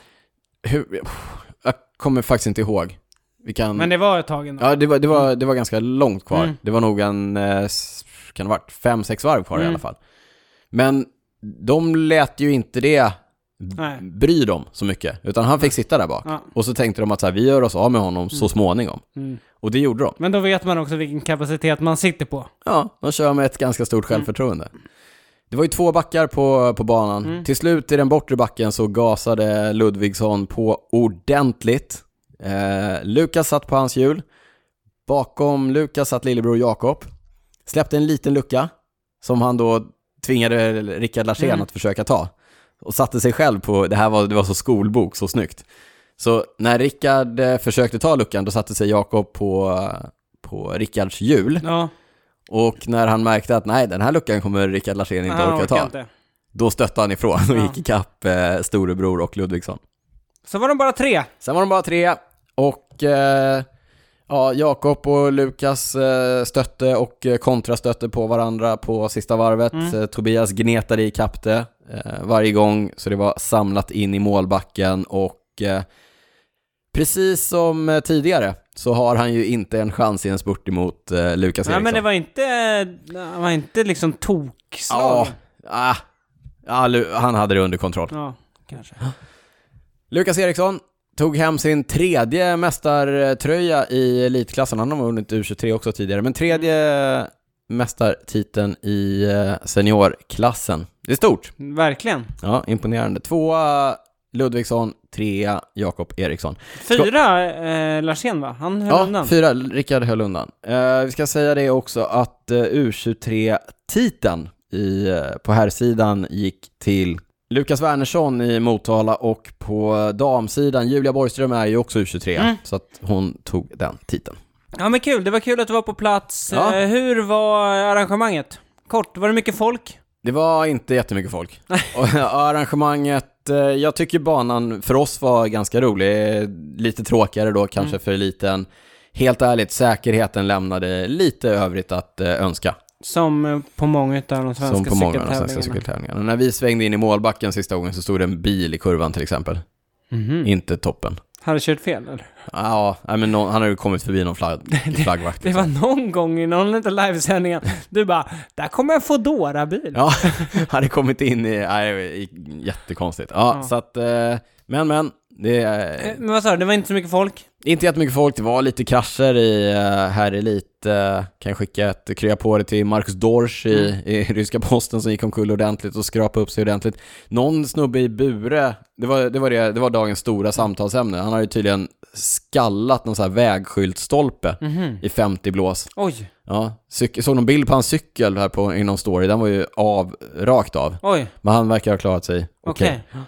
A: hur, pff, jag kommer faktiskt inte ihåg. Vi kan...
B: Men det var ett tag ändå.
A: Ja, det var, det, var, det var ganska långt kvar.
B: Mm.
A: Det var nog en, eh, s- kan det ha varit, fem, sex varv kvar i
B: Mm.
A: alla fall. Men de lät ju inte det
B: Nej.
A: bry dem så mycket, utan han fick sitta där bak.
B: Ja.
A: Och så tänkte de att så här, vi gör oss av med honom så småningom.
B: Mm.
A: Och det gjorde de.
B: Men då vet man också vilken kapacitet man sitter på.
A: Ja, de kör med ett ganska stort självförtroende. Det var ju två backar på, på banan. Till slut i den bortre backen så gasade Ludvigsson på ordentligt. Eh, Lukas satt på hans hjul. Bakom Lukas satt lillebror Jakob. Släppte en liten lucka som han då tvingade Rickard Larsén att försöka ta. Och satte sig själv på, det här var, det var så skolbok, så snyggt. Så när Rickard eh, försökte ta luckan, då satte sig Jakob på, på Rickards hjul.
B: Ja,
A: Och när han märkte att nej, den här luckan kommer Rickard Larsén inte
B: han
A: orka
B: orkar
A: ta,
B: inte.
A: då stötte han ifrån och
B: Ja.
A: gick ikapp eh, storebror och Ludvigsson.
B: Så var de bara tre.
A: Sen var de bara tre och eh, ja, Jakob och Lukas eh, stötte och eh, kontrastötte på varandra på sista varvet.
B: Mm.
A: Eh, Tobias gnetade i kapp det eh, varje gång, så det var samlat in i målbacken och eh, precis som eh, tidigare så har han ju inte en chans i en spurt emot eh, Lukas
B: Nej,
A: Eriksson.
B: men det var inte, det var inte liksom tokslag.
A: Ja, ah, ah, Lu- han hade det under kontroll.
B: ja, kanske.
A: Lukas Eriksson tog hem sin tredje mästartröja i elitklassen. Han har vunnit U23 också tidigare, men tredje mästartiteln i eh, seniorklassen. Det är stort.
B: Verkligen.
A: Ja, imponerande. Tvåa Ludvigsson, trea Jakob Eriksson.
B: Fyra eh, Larsén va? Han höll
A: Ja,
B: undan.
A: fyra. Rickard höll undan. Eh, vi ska säga det också att eh, U23-titeln i, eh, på här sidan gick till Lukas Wernersson i Motala och på eh, damsidan, Julia Borgström är ju också U23,
B: Mm.
A: så att hon tog den titeln.
B: Ja men kul, det var kul att du var på plats.
A: Ja.
B: Eh, hur var arrangemanget? Kort, var det mycket folk?
A: Det var inte jättemycket
B: *laughs*
A: folk. Och arrangemanget, eh, jag tycker banan för oss var ganska rolig. Eh, Lite tråkigare då, kanske
B: Mm.
A: för liten. Helt ärligt, säkerheten lämnade lite övrigt att eh, önska.
B: Som eh, på många av de svenska
A: Som på många av de svenska
B: cykeltävlingarna.
A: cykeltävlingarna. När vi svängde in i målbacken sista gången så stod det en bil i kurvan till exempel.
B: Mhm.
A: Inte toppen.
B: Hade kört fel eller?
A: Ja, nej, men någon, han hade ju kommit förbi någon flagg, flaggvakt.
B: *laughs*
A: liksom.
B: Det var någon gång i någon av livesändningen, du bara “Där kommer en Foodora-bil”.
A: Ja, *laughs* hade kommit in i, nej, det gick jättekonstigt. Ja,
B: Ja.
A: så att, eh, men men, det, eh,
B: Eh, Men vad sa du, det var inte så mycket folk?
A: inte jättemycket folk, det var lite krascher i eh, här elit. Eh, kan skicka ett krya på det till Marcus Dorsch i,
B: Mm.
A: i ryska posten som gick omkull ordentligt och skrapade upp sig ordentligt. Någon snubbe i Bure, det var, det var, det, det var dagens stora samtalsämne, han hade ju tydligen skallat någon sån här vägskyltstolpe
B: Mhm.
A: i 50 blås.
B: Oj,
A: Ja, cykel, såg någon bild på hans cykel här på, i någon story, den var ju av, rakt av.
B: oj,
A: Men han verkar ha klarat sig.
B: okej.
A: Ja,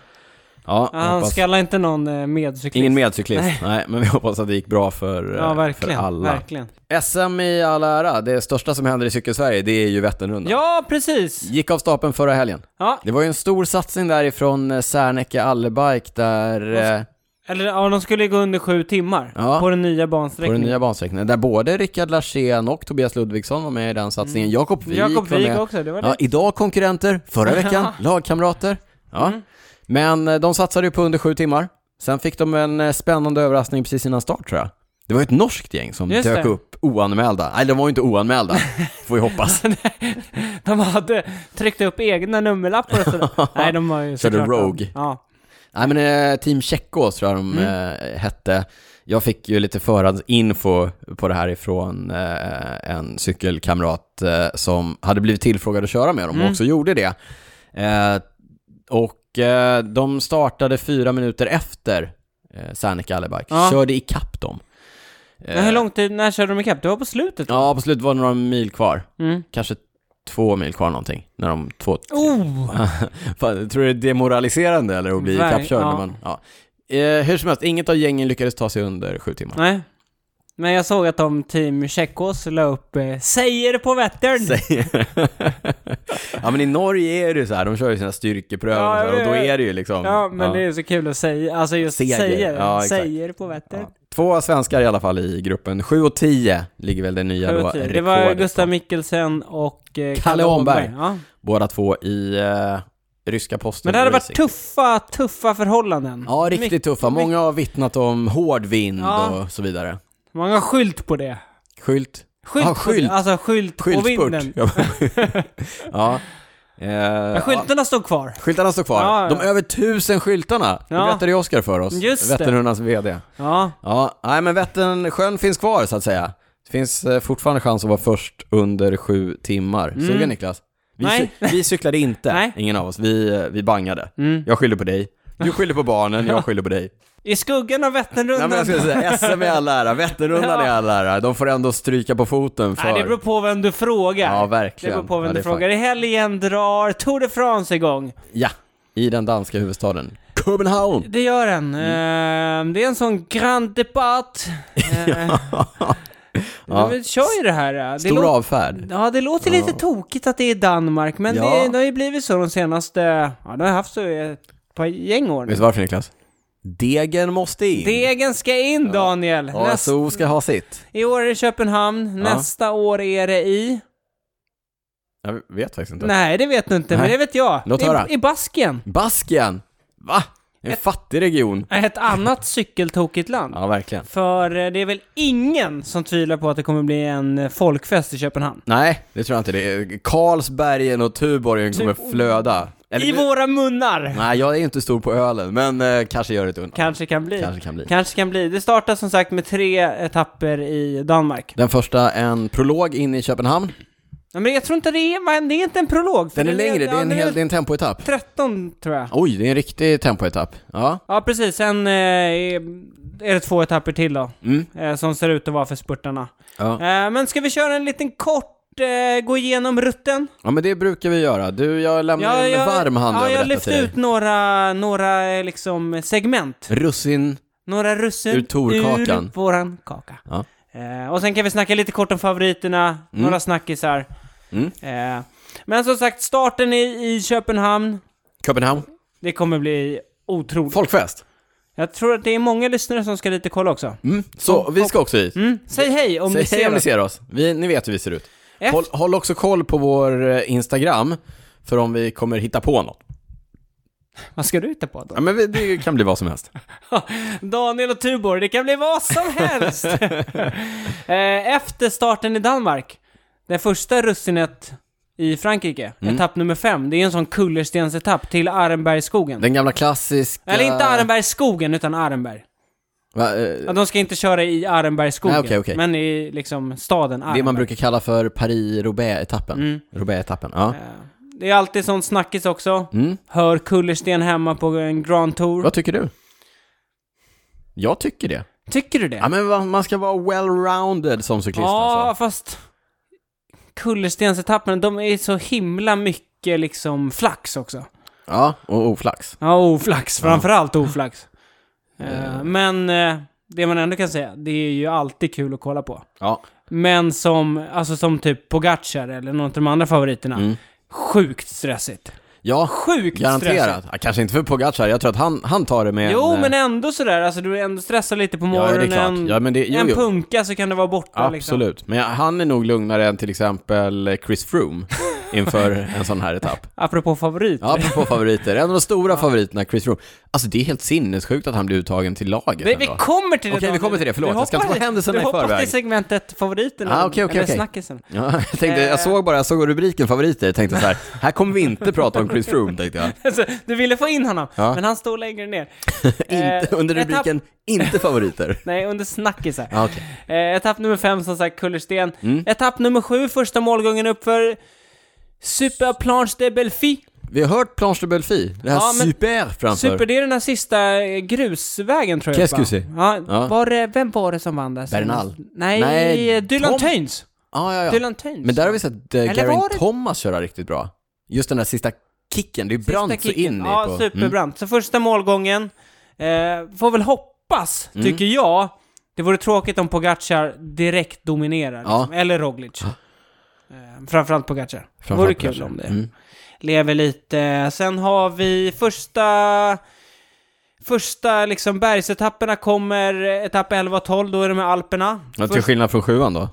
B: Ja, Han
A: hoppas-
B: skallar inte någon eh, medcyklist.
A: Ingen medcyklist,
B: Nej.
A: nej. men vi hoppas att det gick bra för, eh,
B: Ja, verkligen.
A: för alla.
B: verkligen.
A: SM i all ära, det största som händer i cykelsverige, det är ju Vätternrundan.
B: Ja, precis!
A: Gick av stapeln förra helgen.
B: Ja,
A: Det var ju en stor satsning därifrån eh, Serneke Allebike där, eh,
B: eller ja, de skulle gå under sju timmar
A: Ja.
B: på den nya
A: på den
B: bansträckningen.
A: nya bansträckningen, där både Rickard Larsén och Tobias Ludvigsson var med i den satsningen. Jakob Wik
B: Mm. Jakob
A: var
B: Wik
A: med.
B: också, det var
A: Ja,
B: det.
A: idag konkurrenter, förra
B: *laughs*
A: veckan lagkamrater. Ja.
B: Mm.
A: Men eh, de satsade ju på under sju timmar. Sen fick de en eh, spännande överraskning precis innan start tror jag. Det var ju ett norskt gäng som
B: Just
A: dök
B: det.
A: upp oanmälda. Nej, de var ju inte
B: *laughs*
A: oanmälda, får vi hoppas.
B: De hade tryckt upp egna nummerlappar
A: *laughs*
B: och sådär. Nej, de var ju
A: Körde
B: såklart-
A: Rogue.
B: Ja.
A: Nej men eh, Team Tjeckås tror jag de
B: Mm.
A: eh, hette. Jag fick ju lite förhandsinfo på det här ifrån eh, en cykelkamrat eh, som hade blivit tillfrågad att köra med dem
B: Mm.
A: och också gjorde det. Eh, och eh, de startade fyra minuter efter eh, Serneke Allebike,
B: Ja.
A: körde ikapp dem. Eh,
B: Men hur lång tid, när körde de ikapp? Det var på slutet?
A: Ja, på slutet var det några mil kvar.
B: Mm.
A: Kanske två mil kvar någonting. När de två,
B: Oh!
A: Fan, tror du det är demoraliserande eller att bli
B: Ver-
A: ikappkörd?
B: ja.
A: när Man, ja. eh, hur som helst, inget av gängen lyckades ta sig under sju timmar.
B: Nej. Men jag såg att de team Tjeckos la upp eh, “Säger på Vättern”.
A: Säger- *laughs* ja men i Norge är det ju så här, de kör ju sina styrkeprövningar
B: Ja,
A: och, så här, och då
B: jag vet.
A: är det ju liksom...
B: Ja, men
A: ja.
B: det är så kul att säga. Alltså just
A: Seger.
B: säger.
A: Ja, exakt.
B: säger på Vättern.
A: Ja. Två svenskar i alla fall i gruppen, 7 och 10 ligger väl det nya
B: Sju
A: då,
B: och tio. Det
A: rekordet
B: var
A: då.
B: Gustav Mikkelsen och eh,
A: Kalle Åhnberg.
B: Ja.
A: Båda två i eh, ryska posten.
B: Men det hade varit
A: Racing.
B: tuffa, tuffa förhållanden.
A: Ja, riktigt
B: Mycket-
A: tuffa. Många har vittnat om hård vind
B: Ja.
A: och så vidare.
B: Man har skylt på det.
A: Skylt,
B: Skylt,
A: Ja,
B: På
A: skylt.
B: det. Alltså skylt på
A: *laughs*
B: vinden.
A: skyltspurt.
B: *laughs*
A: ja. Eh,
B: Men
A: ja.
B: skyltarna stod kvar.
A: Skyltarna står kvar.
B: Ja, ja.
A: De över tusen skyltarna,
B: Ja.
A: det berättade ju Oskar för oss.
B: Just det.
A: Vätternrundans VD.
B: Ja.
A: Ja, nej men Vättern, sjön finns kvar så att säga. Det finns eh, fortfarande chans att vara först under sju timmar. Sugen Niklas? Vi,
B: Mm. Nej.
A: cy- vi cyklade inte,
B: *laughs* Nej.
A: ingen av oss. Vi, eh, vi bangade.
B: Mm.
A: Jag skyller på dig. Du skyller på
B: *laughs*
A: barnen, jag skyller på dig.
B: I skuggan av
A: Nej,
B: Vätternrundan.
A: men jag skulle säga,
B: *laughs*
A: SM är all ära, Vätternrundan
B: Ja.
A: är all ära. De får ändå stryka på foten för...
B: Nej, det beror på vem du frågar.
A: Ja,
B: det
A: verkligen.
B: beror på vem
A: ja, det
B: du
A: är
B: frågar. I helgen drar Tour de France igång.
A: Ja, i den danska huvudstaden. Köpenhamn.
B: Det gör den.
A: Mm.
B: Ehm, Det är en sån grand debatt.
A: *laughs* Ja.
B: De kör ju det här. Eh, Det
A: Stor
B: låter-
A: avfärd.
B: Ja, det låter lite tokigt att det är Danmark, men
A: Ja.
B: det, det har ju blivit så de senaste, ja det har jag haft så i ett par gäng år nu.
A: Vet du varför Niklas? Degen måste in.
B: Degen ska in Daniel! Näst,
A: ASO ska ha sitt.
B: I år är det Köpenhamn, nästa år är det i...
A: Jag vet faktiskt inte.
B: Nej, det vet du inte, men
A: Nej.
B: det vet jag.
A: Låt
B: I,
A: höra.
B: I Baskien.
A: Baskien! Va? En fattig region.
B: Ett annat cykeltokigt land.
A: Ja, verkligen.
B: För eh, det är väl ingen som tvivlar på att det kommer bli en eh, folkfest i Köpenhamn.
A: Nej, det tror jag inte. Det är Karlsbergen och Tuborgen kommer flöda. Eller-
B: I våra munnar!
A: Nej, jag är ju inte stor på ölen, men eh, kanske gör det ett undantag.
B: Kanske kan bli.
A: Kanske kan bli.
B: Kanske kan bli. Det startar som sagt med tre etapper i Danmark.
A: Den första, en prolog in i Köpenhamn.
B: Ja, men jag tror inte det är, men det är inte en prolog. för
A: Den är längre, det är
B: ja,
A: en,
B: den
A: hel, det är en tempoetapp.
B: 13 tror jag.
A: Oj, det är en riktig tempoetapp. Ja.
B: Ja, precis. Sen eh, är är det två etapper till då,
A: Mm.
B: eh, som ser ut att vara för spurtarna.
A: ja.
B: Eh, men ska vi köra en liten kort eh, gå igenom rutten?
A: Ja, men det brukar vi göra. Du, jag lämnar en varm hand
B: ja,
A: över
B: jag
A: detta
B: lyfte
A: till dig.
B: ut några, några eh, liksom segment.
A: Russin.
B: Några russin
A: Ur Torkakan.
B: ur våran kaka.
A: Ja.
B: Eh, och sen kan vi snacka lite kort om favoriterna, några snackisar.
A: Mm.
B: Eh, men som sagt, starten i, i Köpenhamn,
A: Köpenhamn.
B: det kommer bli otroligt.
A: Folkfest.
B: Jag tror att det är många lyssnare som ska dit och kolla också.
A: Mm. Så vi ska också hit.
B: Mm. Säg hej om
A: Säg
B: ni
A: hej
B: ser
A: om ni
B: oss.
A: ser oss. Vi, ni vet hur vi ser ut.
B: Efter-
A: Håll, håll också koll på vår eh, Instagram, för om vi kommer hitta på något.
B: Vad ska du hitta på då?
A: Ja, men vi, det kan bli vad som helst.
B: Daniel och Tuborg, det kan bli
A: *laughs*
B: vad som helst! eh, efter starten i Danmark, det första russinet i Frankrike,
A: Mm.
B: etapp nummer fem, det är en sån kullerstensetapp till Arnbergsskogen.
A: Den gamla klassiska...
B: Eller inte Arnbergsskogen, utan Arnberg.
A: Va, eh,
B: Ja, de ska inte köra i Arnbergsskogen,
A: Nej, okej, okej.
B: men i liksom staden Arnberg.
A: Det man brukar kalla för Paris-Roubaix-etappen.
B: Mm.
A: Roubaix-etappen, ja.
B: Eh, Det är alltid sånt snackis också.
A: Mm.
B: Hör kullersten hemma på en Grand Tour.
A: Vad tycker du? Jag tycker det.
B: Tycker du det?
A: Ja, men va- man ska vara well-rounded som cyklist
B: Ja,
A: alltså.
B: fast kullerstensetapperna, de är så himla mycket liksom flax också.
A: Ja, och oflax.
B: Ja, oflax.
A: *laughs*
B: Framförallt oflax. Eh, Men eh, det man ändå kan säga, det är ju alltid kul att kolla på.
A: Ja.
B: Men som, alltså som typ Pogacar eller någon av de andra favoriterna. Sjukt stressigt.
A: Ja,
B: Sjukt stressigt.
A: Mm. garanterat. Ja, kanske inte för Pogacar, jag tror att han, han tar det med
B: Jo,
A: en,
B: men
A: eh,
B: ändå sådär, alltså du är ändå stressad lite på
A: ja, det är
B: morgonen.
A: klart. Ja, men det, jo,
B: en
A: jo.
B: punka så kan du vara borta liksom.
A: Absolut. Men ja, han är nog lugnare än till exempel Chris Froome
B: *laughs*
A: inför en sån här etapp.
B: Apropå favorit.
A: Ja, apropå favoriter. En av de stora favoriterna, Chris Froome. Alltså det är helt sinnessjukt att han blir uttagen till laget
B: Vi, vi
A: ändå.
B: kommer till det
A: Okej, vi
B: Daniel.
A: kommer till det. Förlåt,
B: Du
A: jag ska inte
B: hoppar-
A: ta händelserna i
B: Du hoppar
A: förväg.
B: till segmentet favoriterna.
A: Ah, okej, okej,
B: eller
A: okej.
B: snackisen. *laughs*
A: Ja, jag, tänkte,
B: Eh.
A: jag såg bara, jag såg rubriken favoriter, jag tänkte så här, här kommer vi inte prata om Chris Froome, tänkte jag.
B: Alltså, du ville få in honom,
A: Ja.
B: men han står längre ner.
A: Inte,
B: Eh,
A: under
B: etapp-
A: rubriken inte favoriter.
B: Nej, under snackisar.
A: Ja, Mm. okej.
B: Eh, etapp nummer fem, som sagt, kullersten. Etapp nummer sju, första målgången uppför Superplanche de Belfi.
A: Vi har hört Planche de Belfi, det här
B: Ja, men-
A: super framför.
B: Super, det är den här sista eh, grusvägen tror jag.
A: Qu'est-ce que
B: va?
A: c'est?
B: Ja,
A: Ja.
B: Var det, vem var det som vann där? senast?
A: Bernal.
B: Nej,
A: Nej,
B: Dylan
A: Tom-
B: Töns.
A: Ja, ja, ja.
B: Dylan Töns.
A: Men där har vi sett eh,
B: Eller
A: Geraint
B: var det-
A: Thomas köra riktigt bra. Just den där sista kicken, det är
B: Sista
A: brant så
B: kicken.
A: in i
B: Ja,
A: på... Mm.
B: superbrant. Så första målgången, eh, får väl hoppas,
A: Mm.
B: tycker jag. Det vore tråkigt om Pogacar direkt dominerar, liksom. eller Roglic. Eh, framförallt Pogacar.
A: Framförallt
B: vore kul
A: Pogacar.
B: om det.
A: Mm.
B: Lever lite. Sen har vi första... Första liksom bergsetapperna kommer eh, etapp 11 och 12, då är det med Alperna.
A: Ja, till
B: Först-
A: skillnad från sjuan *laughs* då.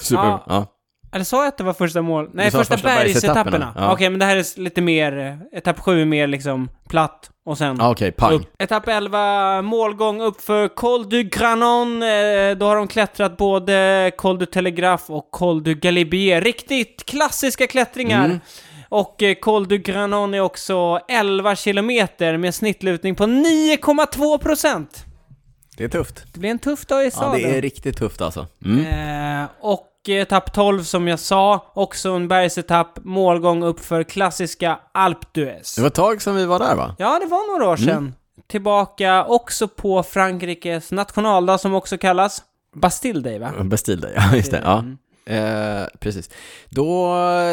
A: Super,
B: Ja.
A: ja.
B: eller sa jag att det var första mål? Nej,
A: Du sa
B: första,
A: första
B: bergsetapperna.
A: bergsetapperna. Ja.
B: Okej, men det här är s- lite mer... eh, Etapp 7 är mer liksom platt och sen...
A: Ja, Okej, pang.
B: Upp. Etapp 11, målgång upp för Col du Granon. Eh, Då har de klättrat både Col du Telegraph och Col du Galibier. Riktigt klassiska klättringar.
A: Mm.
B: Och eh, Col du Granon är också 11 kilometer med snittlutning på 9,2 procent.
A: Det är tufft.
B: Det blir en tuff dag i
A: Ja,
B: sadeln.
A: det är riktigt tufft alltså. Mm.
B: Eh, och etapp 12 som jag sa, också en bergsetapp, målgång upp för klassiska Alpe d'Huez.
A: Det var ett tag sedan vi var där va?
B: Ja, det var
A: Mm.
B: några år sedan. Tillbaka också på Frankrikes nationaldag som också kallas Bastille Day, va?
A: Mm. Bastille Day, *laughs* ja just det. Ja. Eh, precis. Då,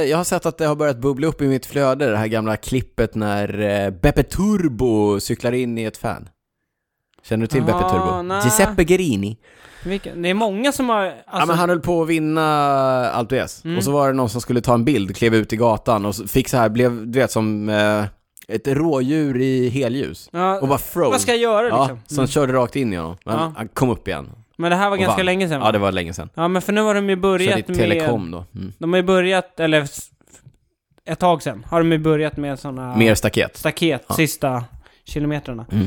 A: jag har sett att det har börjat bubbla upp i mitt flöde, det här gamla klippet när eh, Beppe Turbo cyklar in i ett fan. Känner du till Beppe
B: Ah,
A: Turbo?
B: nej.
A: Giuseppe Gerini.
B: Vilken? Det är många som har...
A: Ja,
B: Alltså, Mm.
A: men han höll på att vinna Alpe d'Huez. Och så var det någon som skulle ta en bild, klev ut i gatan och så fick så här, blev, du vet som eh, ett rådjur i helljus.
B: ja,
A: Och bara froze.
B: vad ska jag göra
A: Ja,
B: liksom?
A: som körde rakt in i honom. Men
B: Ja.
A: han kom upp igen.
B: Men det här var
A: och
B: ganska
A: vann.
B: länge sedan va?
A: Ja, det var länge sedan.
B: Ja, men för nu har de ju
A: Så
B: börjat
A: det är
B: med...
A: telekom då. Mm.
B: De har ju börjat, eller s- ett tag sedan, har de ju börjat med sådana
A: Mer staket.
B: staket sista kilometrarna.
A: Mm.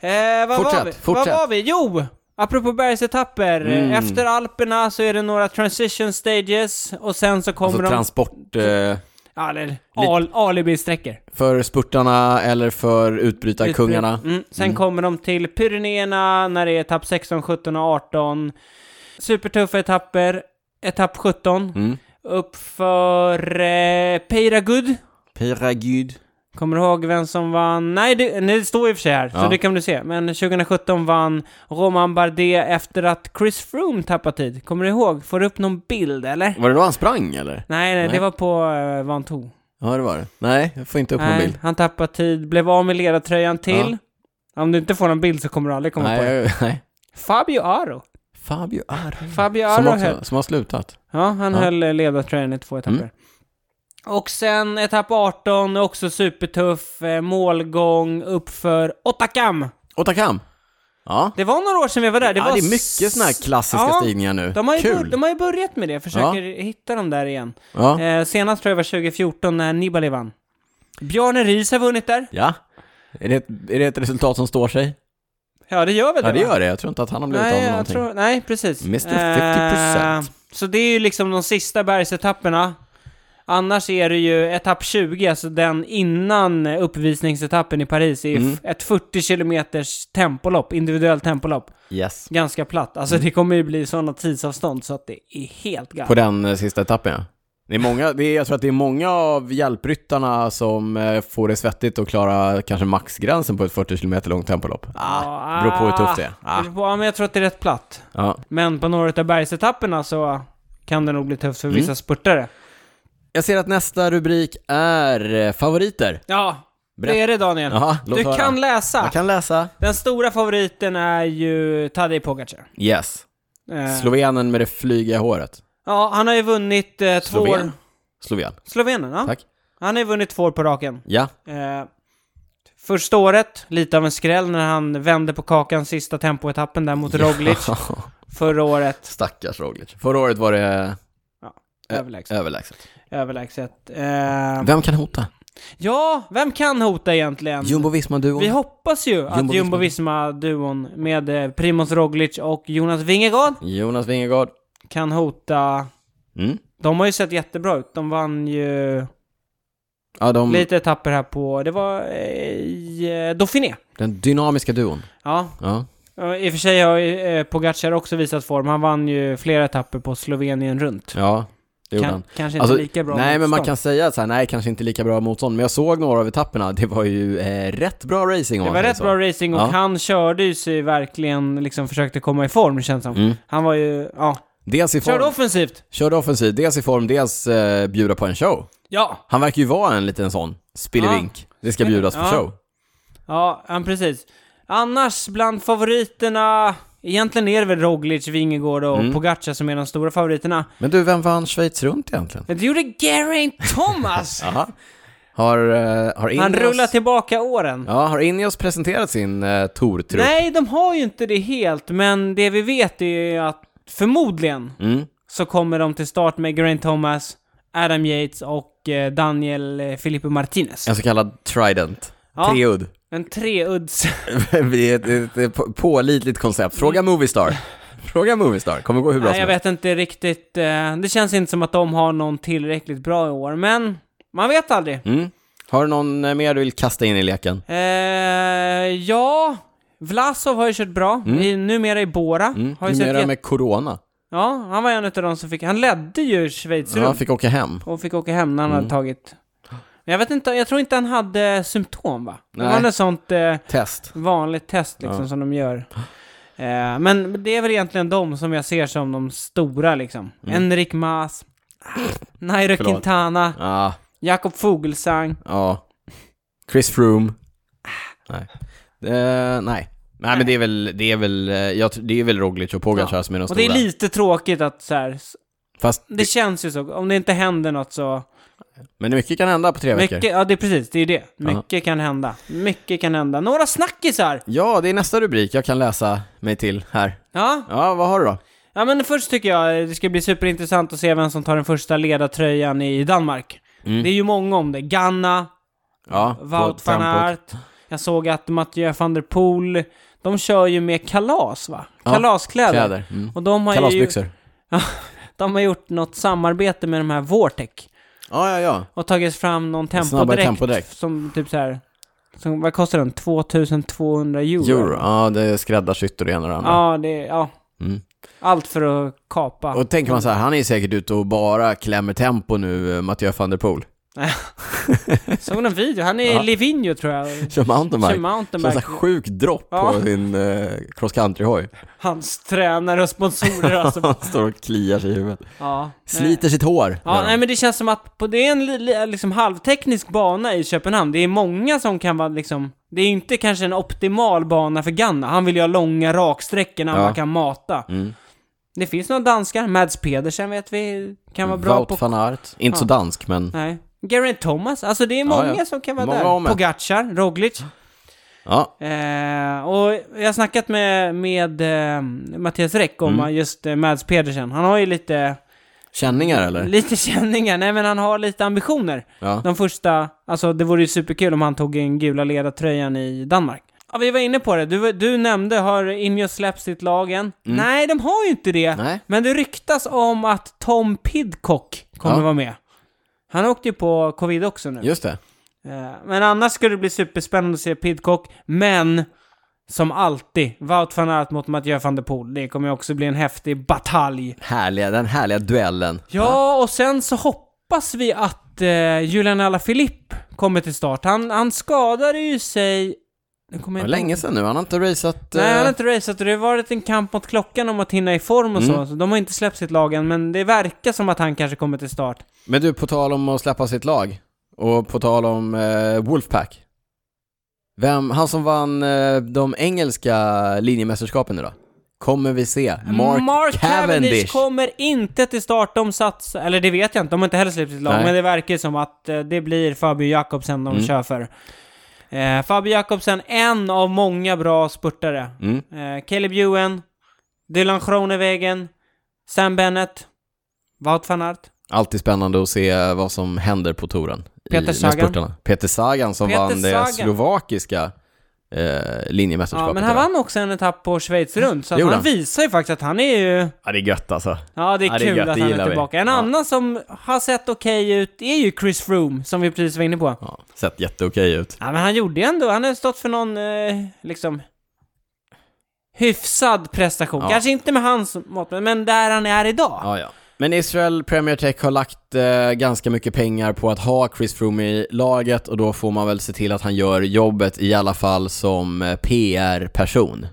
B: Eh, vad var
A: Fortsätt,
B: vi?
A: fortsätt.
B: Vad var vi? Jo! Apropå bergsetapper, eh,
A: Mm.
B: efter Alperna så är det några transition stages och sen så kommer
A: Alltså
B: de...
A: transport eh,
B: ja, eller al, alibi-sträckor.
A: för spurtarna eller för utbrytarkungarna.
B: Mm. Sen kommer de till Pyrenéerna när det är etapp 16, 17 och 18. Supertuffa etapper. Etapp 17.
A: Mm.
B: Uppför eh, Peiragud.
A: Piragud.
B: Kommer du ihåg vem som vann? Nej, det, nej, det står i och för sig här,
A: Ja.
B: så det kan du se. Men 2017 vann Roman Bardet efter att Chris Froome tappade tid. Kommer du ihåg? Får du upp någon bild, eller?
A: Var det då han sprang eller?
B: Nej, nej,
A: Nej.
B: det var på eh, Van Toe.
A: Ja, det var det. Nej, jag får inte upp någon
B: Nej,
A: bild.
B: han tappade tid, blev av med ledartröjan till. Om du inte får någon bild så kommer du aldrig komma på det.
A: Nej, *laughs* nej.
B: Fabio Aro.
A: Fabio Aro.
B: Fabio
A: Som,
B: Aro höll.
A: också, som har slutat.
B: Ja, han
A: Ja.
B: höll eh, ledartröjan i två etapper.
A: Mm.
B: Och sen etapp 18, också supertuff, eh, målgång uppför Otakam.
A: Otakam. Ja.
B: Det var några år sedan vi var där. Det,
A: Det, ja,
B: var
A: det är mycket sådana här klassiska
B: Ja,
A: stigningar nu.
B: De har, ju bör,
A: Kul.
B: de har ju börjat med det, försöker hitta dem där igen.
A: Ja.
B: Eh, senast tror jag var 2014 när Nibali vann. Bjarne Riis har vunnit där.
A: ja. Är det, ett- är det ett resultat som står sig?
B: Ja, det gör väl
A: Ja, det
B: va?
A: gör det. Jag tror inte att han har blivit av
B: Nej,
A: med
B: jag
A: någonting.
B: tror, nej, precis.
A: Mr. 50%.
B: Eh, så det är ju liksom de sista bergsetapperna. Annars är det ju etapp 20, alltså den innan uppvisningsetappen i Paris, är ju
A: Mm.
B: f- ett 40 kilometers tempolopp, individuellt tempolopp.
A: Yes.
B: Ganska platt. Alltså det kommer ju bli sådana tidsavstånd så att det är helt galet.
A: Mm. På den eh, sista etappen, ja. Det är många, det är, jag tror att det är många av hjälpryttarna som eh, får det svettigt att klara kanske maxgränsen på ett 40 km långt tempolopp. Ah, beror på hur tufft det är.
B: Det
A: Ah,
B: beror på- Ja, men jag tror att det är rätt platt.
A: ja.
B: Men på några av bergsetapperna så kan det nog bli tufft för
A: Mm.
B: vissa spurtare.
A: Jag ser att nästa rubrik är eh, favoriter.
B: Ja,
A: Berätta.
B: det är det Daniel.
A: Jaha, låt
B: du
A: höra.
B: kan läsa.
A: Jag kan läsa.
B: Den stora favoriten är ju Tadej Pogacar.
A: Yes.
B: Eh,
A: Slovenen med det flygiga håret.
B: ja, han har ju vunnit eh, två år.
A: Sloven. Sloven.
B: Slovenen, ja.
A: Tack.
B: Han har ju vunnit två år på raken.
A: Ja.
B: Eh, första året, lite av en skräll när han vände på kakan sista tempoetappen där
A: *laughs*
B: mot Roglic. Förra året,
A: Stackars Roglic. Förra året var det
B: överlägset.
A: överlägset.
B: överlägset. Eh,
A: Eh, Vem kan hota?
B: ja, vem kan hota egentligen? Vi
A: Jumbo-Visma-duon.
B: hoppas ju att
A: Jumbo-Visma.
B: Jumbo-Visma-duon med eh, Primoz Roglic och Jonas Vingegaard
A: Jonas Vingegaard.
B: kan hota
A: Mm.
B: De har ju sett jättebra ut. De vann ju
A: Ja, de,
B: lite etapper här på... Det var eh, i eh, Dauphiné.
A: den dynamiska duon.
B: Ja,
A: Ja.
B: eh, i och för sig har ju eh, Pogacar också visat form. Han vann ju flera etapper på Slovenien runt.
A: Ja, det gjorde
B: Kan,
A: han.
B: kanske inte
A: Alltså,
B: lika bra
A: nej, men man
B: motstånd.
A: kan säga så här, nej, kanske inte lika bra motstånd, men jag såg några av etapperna, det var ju eh, rätt bra racing om man
B: Det var
A: säger
B: rätt
A: så.
B: bra racing och
A: Ja.
B: han körde ju sig verkligen, liksom försökte komma i form känns det som.
A: Mm.
B: Han var ju, ja.
A: Dels i form,
B: Körde
A: körde,
B: offensivt!
A: offensivt, dels i form, dels eh, bjuda på en show.
B: Ja!
A: Han verkar ju vara en liten sån spillevink. Det ska bjudas på
B: Ja.
A: show.
B: Ja, ja precis. Annars bland favoriterna, egentligen är det väl Roglic, Vingegaard och
A: Mm.
B: Pogacar som är de stora favoriterna.
A: Men du, vem vann Schweiz runt egentligen?
B: Men det gjorde Geraint
A: *laughs*
B: Thomas!
A: Jaha. Har, eh, har
B: Han
A: Ineos-
B: rullar tillbaka åren.
A: Ja, har Ineos presenterat sin eh, Tour-trupp?
B: Nej, de har ju inte det helt, men det vi vet är ju att förmodligen
A: Mm.
B: så kommer de till start med Geraint Thomas, Adam Yates och eh, Daniel eh, Filipe Martinez.
A: En så kallad Trident. *laughs*
B: Ja.
A: Treudd.
B: En treudds...
A: det är ett, ett, ett på- pålitligt koncept. Fråga Movistar. Fråga Movistar. Kommer gå hur bra
B: Mm. Nej, *laughs* jag
A: som helst.
B: vet inte riktigt. eh, Det känns inte som att de har någon tillräckligt bra i år, men man vet aldrig.
A: Mm. Har du någon eh, mer du vill kasta in i leken?
B: Eh, ja, Vlasov har ju kört bra, i, numera i Bora.
A: Mm.
B: Har ju sett
A: Numera
B: jätte-
A: med corona.
B: Ja, han var en av de som fick... Han ledde ju Schweiz
A: Ja,
B: runt.
A: han fick åka hem.
B: Och fick åka hem när han
A: Mm.
B: hade tagit... Men jag vet inte, jag tror inte han hade symptom va? Det
A: Nej.
B: var något sånt eh,
A: Test.
B: vanligt test liksom som de gör. Eh, men det är väl egentligen de som jag ser som de stora liksom. Enrik Mas, Nairo
A: Mm. Förlåt.
B: Quintana,
A: Ja,
B: Jakob Fuglsang.
A: ja. Chris Froome. Nej. Eh, nej. Nej men det är väl, det är väl, eh, jag, tr- det är väl Roglic och Pogacar som är de
B: Och
A: stora.
B: det är lite tråkigt att så här, s-
A: Fast,
B: det känns ju så. Om det inte händer något så...
A: men mycket kan hända på tre
B: Mycket,
A: veckor.
B: ja, det är precis. Det är det. Mycket kan hända. Mycket kan hända. Några snackisar!
A: Ja, det är nästa rubrik jag kan läsa mig till här.
B: Ja.
A: Ja, vad har du då?
B: ja, men först tycker jag det ska bli superintressant att se vem som tar den första ledartröjan i Danmark.
A: Mm.
B: Det är ju många om det. Ganna,
A: Ja, på
B: Wout van
A: tempot.
B: Aert. Jag såg att Mathieu van der Poel, de kör ju med kalas va?
A: Ja,
B: Kalaskläder.
A: Kläder. Mm.
B: Och de har ju,
A: Kalasbyxor.
B: de har gjort något samarbete med de här Vortec.
A: Ja, ja, ja.
B: Och tagit fram någon
A: Snabbare
B: tempodräkt.
A: tempodräkt.
B: Som typ så här, som, vad kostar den? 2200 euro?
A: Euro. Ja, det är skräddarsytt och det ena och det andra.
B: Ja, det, ja.
A: Mm.
B: Allt för att kapa.
A: Och tänker man så här, han är säkert ute och bara klämmer tempo nu, eh, Mathieu van der Poel. *laughs*
B: Såg någon video? Han är i
A: Ja.
B: Livigno tror jag.
A: Kör mountainbike.
B: Kör
A: Kör mountainbike.
B: mountainbike.
A: sjuk dropp
B: Ja.
A: på sin eh, cross
B: *laughs*
A: country-hoj.
B: Hans tränare och
A: *laughs*
B: sponsorer alltså.
A: Han står och kliar sig i huvudet.
B: Ja.
A: Sliter sitt hår.
B: Ja,
A: gör
B: nej
A: han.
B: men det känns som att på, det är en li, li, liksom halvteknisk bana i Köpenhamn. Det är många som kan vara liksom... Det är inte kanske en optimal bana för Ganna. Han vill ju ha långa raksträckor när han
A: Ja.
B: bara kan mata.
A: Mm.
B: Det finns några danskar. Mads Pedersen vet vi kan vara bra
A: Wout
B: på...
A: van Aert. Inte så
B: Ja.
A: dansk, men...
B: Nej. Geraint Thomas. Alltså det är
A: Ja,
B: många
A: ja.
B: som kan vara
A: Många om
B: där.
A: det.
B: Pogacar, Roglic.
A: Ja.
B: Eh, och jag har snackat med, med eh, Mattias Räck om
A: Mm.
B: just eh, Mads Pedersen. Han har ju lite,
A: Känningar, eller?
B: lite *laughs* känningar, nej men han har lite ambitioner.
A: Ja.
B: De första, alltså det vore ju superkul om han tog in gula ledartröjan i Danmark. Ja, vi var inne på det. Du, du nämnde, har Injo släppt sitt lag än? Nej, de har ju inte det.
A: Mm. Nej.
B: Men det ryktas om att Tom Pidcock kommer
A: Ja.
B: vara med. Han åkte ju på covid också nu.
A: Just det.
B: Eh, Men annars skulle det bli superspännande att se Pidcock, men som alltid, Wout van Aert mot Mathieu van der Poel. Det kommer ju också bli en häftig batalj.
A: Härliga, den härliga duellen.
B: Ja, och sen så hoppas vi att eh, Julian Alaphilippe kommer till start. Han, han skadade ju sig... Nu kommer
A: Det
B: jag
A: var
B: inte ihåg.
A: länge sedan nu, han har inte raceat...
B: Nej, han har
A: eh,
B: inte raceat och det har varit en kamp mot klockan om att hinna i form och
A: Mm.
B: så. så. De har inte släppt sitt lag än, men det verkar som att han kanske kommer till start.
A: Men du, på tal om att släppa sitt lag och på tal om eh, Wolfpack. Vem, han som vann eh, de engelska linjemästerskapen idag. Kommer vi se Mark, Cavendish?
B: kommer inte till start. De satsar... Eller det vet jag inte, de har inte heller släppt sitt lag.
A: Nej. Mm.
B: Men det verkar ju som att eh, det blir Fabio Jakobsen de kör för. Eh, Fabio Jakobsen, en av många bra spurtare.
A: Mm.
B: Eh, Caleb Ewan, Dylan Groenewegen, Sam Bennett, Wout van Aert.
A: Alltid spännande att se vad som händer på touren. i-
B: Peter
A: med
B: Sagan.
A: spurtarna. Peter Sagan som
B: Peter
A: vann det
B: Sagan.
A: slovakiska eh, linjemästerskapet.
B: Ja, men han
A: idag.
B: vann också en etapp på Schweiz runt, så att
A: Gjorde
B: han
A: han?
B: visar ju faktiskt att han är ju...
A: Ja, det är gött alltså.
B: Ja, det är
A: Ja, det är
B: kul
A: gött,
B: att
A: det
B: han är
A: gillar vi.
B: tillbaka. En
A: Ja.
B: annan som har sett okej ut är ju Chris Froome, som vi precis var inne på.
A: Ja, sett jätteokej ut.
B: Ja, men han gjorde ju ändå, han har stått för någon, eh, liksom, hyfsad prestation.
A: Ja.
B: Kanske inte med hans mått, men- men där han är idag.
A: Ja, ja. Men Israel Premier Tech har lagt eh, ganska mycket pengar på att ha Chris Froome i laget och då får man väl se till att han gör jobbet i alla fall som eh, PR-person.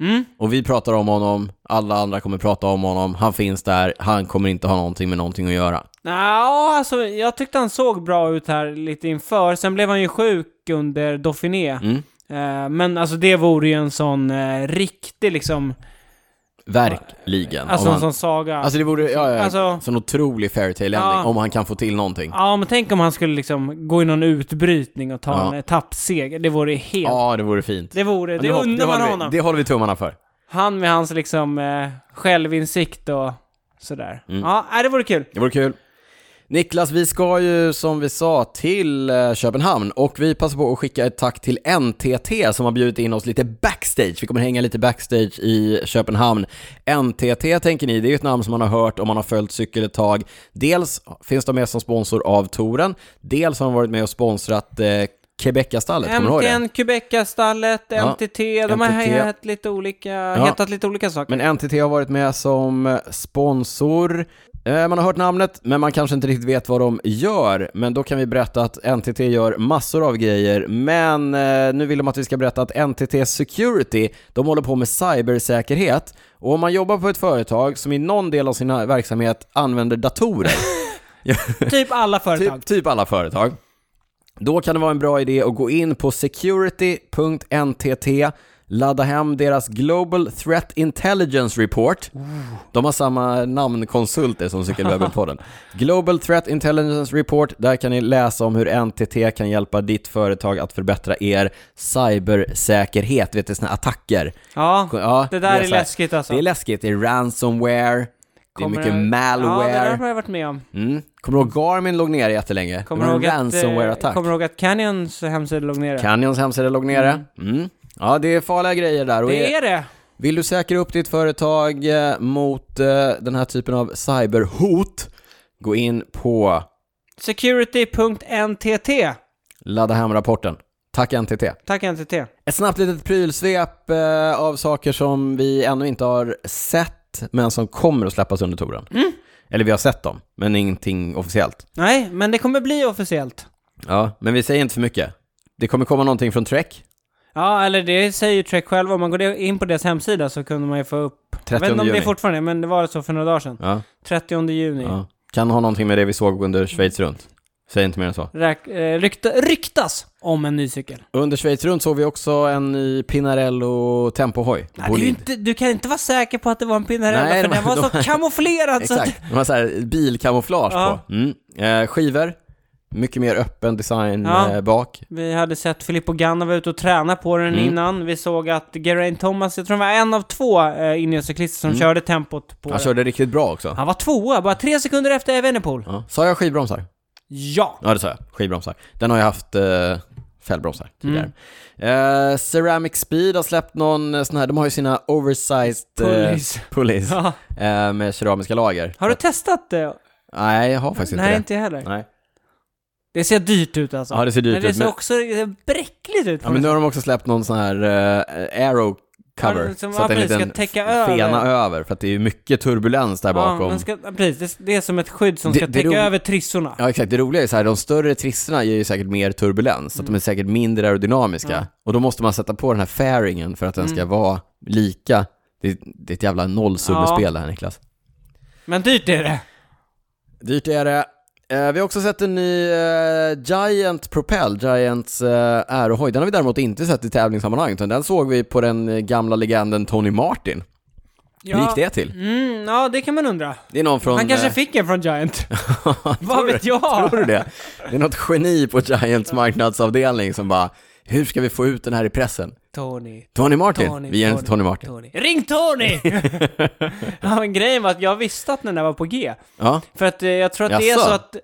B: Mm.
A: Och vi pratar om honom, alla andra kommer prata om honom, han finns där, han kommer inte ha någonting med någonting att göra.
B: Ja, alltså jag tyckte han såg bra ut här lite inför. Sen blev han ju sjuk under Dauphiné.
A: Mm.
B: Eh, men alltså det vore ju en sån eh, riktig liksom,
A: Verkligen.
B: alltså
A: Om han,
B: en sån saga.
A: alltså det vore, ja, ja,
B: Alltså-
A: sån otrolig fairytale ending
B: Ja.
A: om han kan få till någonting. Ja,
B: ja, men tänk om han skulle liksom gå i någon utbrytning och ta
A: Ja.
B: en etappseger. Det vore helt...
A: det vore fint.
B: Det vore,
A: Ja,
B: det
A: hop-
B: undrar man
A: håller vi,
B: honom.
A: Det håller vi tummarna för.
B: Han med hans liksom eh, självinsikt och sådär.
A: Mm.
B: Ja, nej, det vore kul.
A: Det vore kul. Niklas, vi ska ju som vi sa till eh, Köpenhamn och vi passar på att skicka ett tack till NTT som har bjudit in oss lite backstage. Vi kommer hänga lite backstage i Köpenhamn. NTT tänker ni, det är ju ett namn som man har hört om man har följt cykel ett tag. Dels finns de med som sponsor av touren, dels har de varit med och sponsrat eh, Quebecastallet, kommer du ihåg det?
B: MTN, Quebeca-stallet,
A: Ja,
B: MTT, de har
A: MTT.
B: hetat lite olika, hetat lite olika saker.
A: Men NTT har varit med som sponsor. Eh, Man har hört namnet, men man kanske inte riktigt vet vad de gör. Men då kan vi berätta att NTT gör massor av grejer. Men eh, nu vill de att vi ska berätta att NTT Security, de håller på med cybersäkerhet. Och om man jobbar på ett företag som i någon del av sin verksamhet använder datorer,
B: Typ alla företag.
A: typ, typ alla företag, då kan det vara en bra idé att gå in på security.ntt, ladda hem deras Global Threat Intelligence Report. De har samma namnkonsulter som
B: *laughs*
A: Cykelwebben-podden. Global Threat Intelligence Report, där kan ni läsa om hur NTT kan hjälpa ditt företag att förbättra er cybersäkerhet, vet du, sådana attacker.
B: Ja,
A: Ja,
B: det där är,
A: så här-
B: läskigt alltså.
A: Det är läskigt, det är ransomware, det är
B: Kommer-
A: mycket
B: Ja, det där
A: malware.
B: har jag varit med om.
A: Mm. Kommer du ihåg Garmin låg nere jättelänge?
B: Kommer
A: det var
B: ihåg
A: en
B: att, eh,
A: ransomware-attack.
B: kommer ihåg att Canyons hemsida låg nere?
A: Canyons hemsida låg nere. Mm. Ja, det är farliga grejer där. Och
B: det
A: är...
B: är det!
A: Vill du säkra upp ditt företag eh, mot eh, den här typen av cyberhot, gå in på
B: Security.ntt.
A: ladda hem rapporten. Tack NTT.
B: Tack NTT.
A: Ett snabbt litet prylsvep eh, av saker som vi ännu inte har sett, men som kommer att släppas under touren.
B: Mm.
A: Eller vi har sett dem, men ingenting officiellt.
B: Nej, men det kommer bli officiellt.
A: Ja, men vi säger inte för mycket. Det kommer komma någonting från Trek,
B: Ja, eller det säger ju Trek själva. Om man går in på deras hemsida så kunde man ju få upp... Jag
A: 30
B: vet inte om
A: juni.
B: det är fortfarande men det var så för några dagar sedan.
A: ja,
B: 30 juni.
A: ja. Kan ha någonting med det vi såg under Schweiz runt. Säg inte mer än så.
B: Räk, eh, rykta, ryktas om en ny cykel.
A: Under Schweiz runt såg vi också en ny Pinarello Tempohoj.
B: Nej, det är ju inte, du kan inte vara säker på att det var en Pinarello,
A: Nej,
B: för
A: de- *laughs*
B: den var så kamouflerad så att...
A: Exakt, de har så här bilkamouflage
B: Ja.
A: på. Mm. Eh, skivor, mycket mer öppen design
B: Ja.
A: eh, bak.
B: Vi hade sett Filippo Ganna vara ute och träna på den
A: Mm.
B: innan. Vi såg att Geraint Thomas, jag tror han var en av två eh, Ineos-cyklister som körde tempot på
A: Mm. Han
B: den.
A: körde riktigt bra också.
B: Han var tvåa, bara tre sekunder efter Evenepoel.
A: Ja. Sa jag skivbromsar?
B: Ja!
A: Ja, det sa jag. Skivbromsar. Den har jag haft eh, fällbromsar
B: Mm.
A: tidigare. Eh, Ceramic Speed har släppt någon eh, sån här, de har ju sina oversized eh,
B: Pulleys.
A: pulleys,
B: *laughs* Ja.
A: eh, med keramiska lager.
B: Har du testat det?
A: Nej, jag har faktiskt
B: Nej,
A: inte
B: inte jag heller.
A: det. Nej.
B: Det ser dyrt ut alltså.
A: Ja, det ser dyrt
B: men det
A: ut,
B: ser
A: men-
B: också bräckligt ut.
A: Ja, men nu har de också släppt någon sån här eh, aero cover,
B: Ja, som-
A: så att
B: ja,
A: en
B: precis,
A: liten
B: ska täcka
A: fena
B: över.
A: över, för att det är ju mycket turbulens där
B: Ja,
A: bakom.
B: den ska, ja, precis. Det, det är som ett skydd som
A: Det-
B: ska
A: det
B: täcka
A: roliga-
B: över trissorna.
A: Ja, exakt. Det roliga är så här, de större trissorna ger ju säkert mer turbulens, så att
B: Mm.
A: de är säkert mindre aerodynamiska. Och då måste man sätta på den här fairingen för att den
B: Mm.
A: ska vara lika. Det, det är ett jävla nollsummespel det här Niklas.
B: Men dyrt är det.
A: Dyrt är det. Eh, vi har också sett en ny eh, Giant Propel, Giants eh, aerohoj. Den har vi däremot inte sett i tävlingssammanhang, utan den såg vi på den eh, gamla legenden Tony Martin.
B: Ja.
A: Hur gick det till?
B: Mm, ja, det kan man undra.
A: Det är någon från...
B: Han
A: *laughs*
B: kanske
A: eh,
B: fick en från Giant. Vad vet jag?
A: Tror du det? Det är något geni på Giants marknadsavdelning som bara, hur ska vi få ut den här i pressen?
B: Tony,
A: Tony Martin?
B: Tony,
A: vi ger den
B: Tony,
A: till Tony Martin.
B: Tony. Ring
A: *laughs*
B: Tony! ja, men grejen var att jag visste att den där var på G.
A: Ja.
B: För att eh, jag tror att det är
A: Jaså?
B: så att...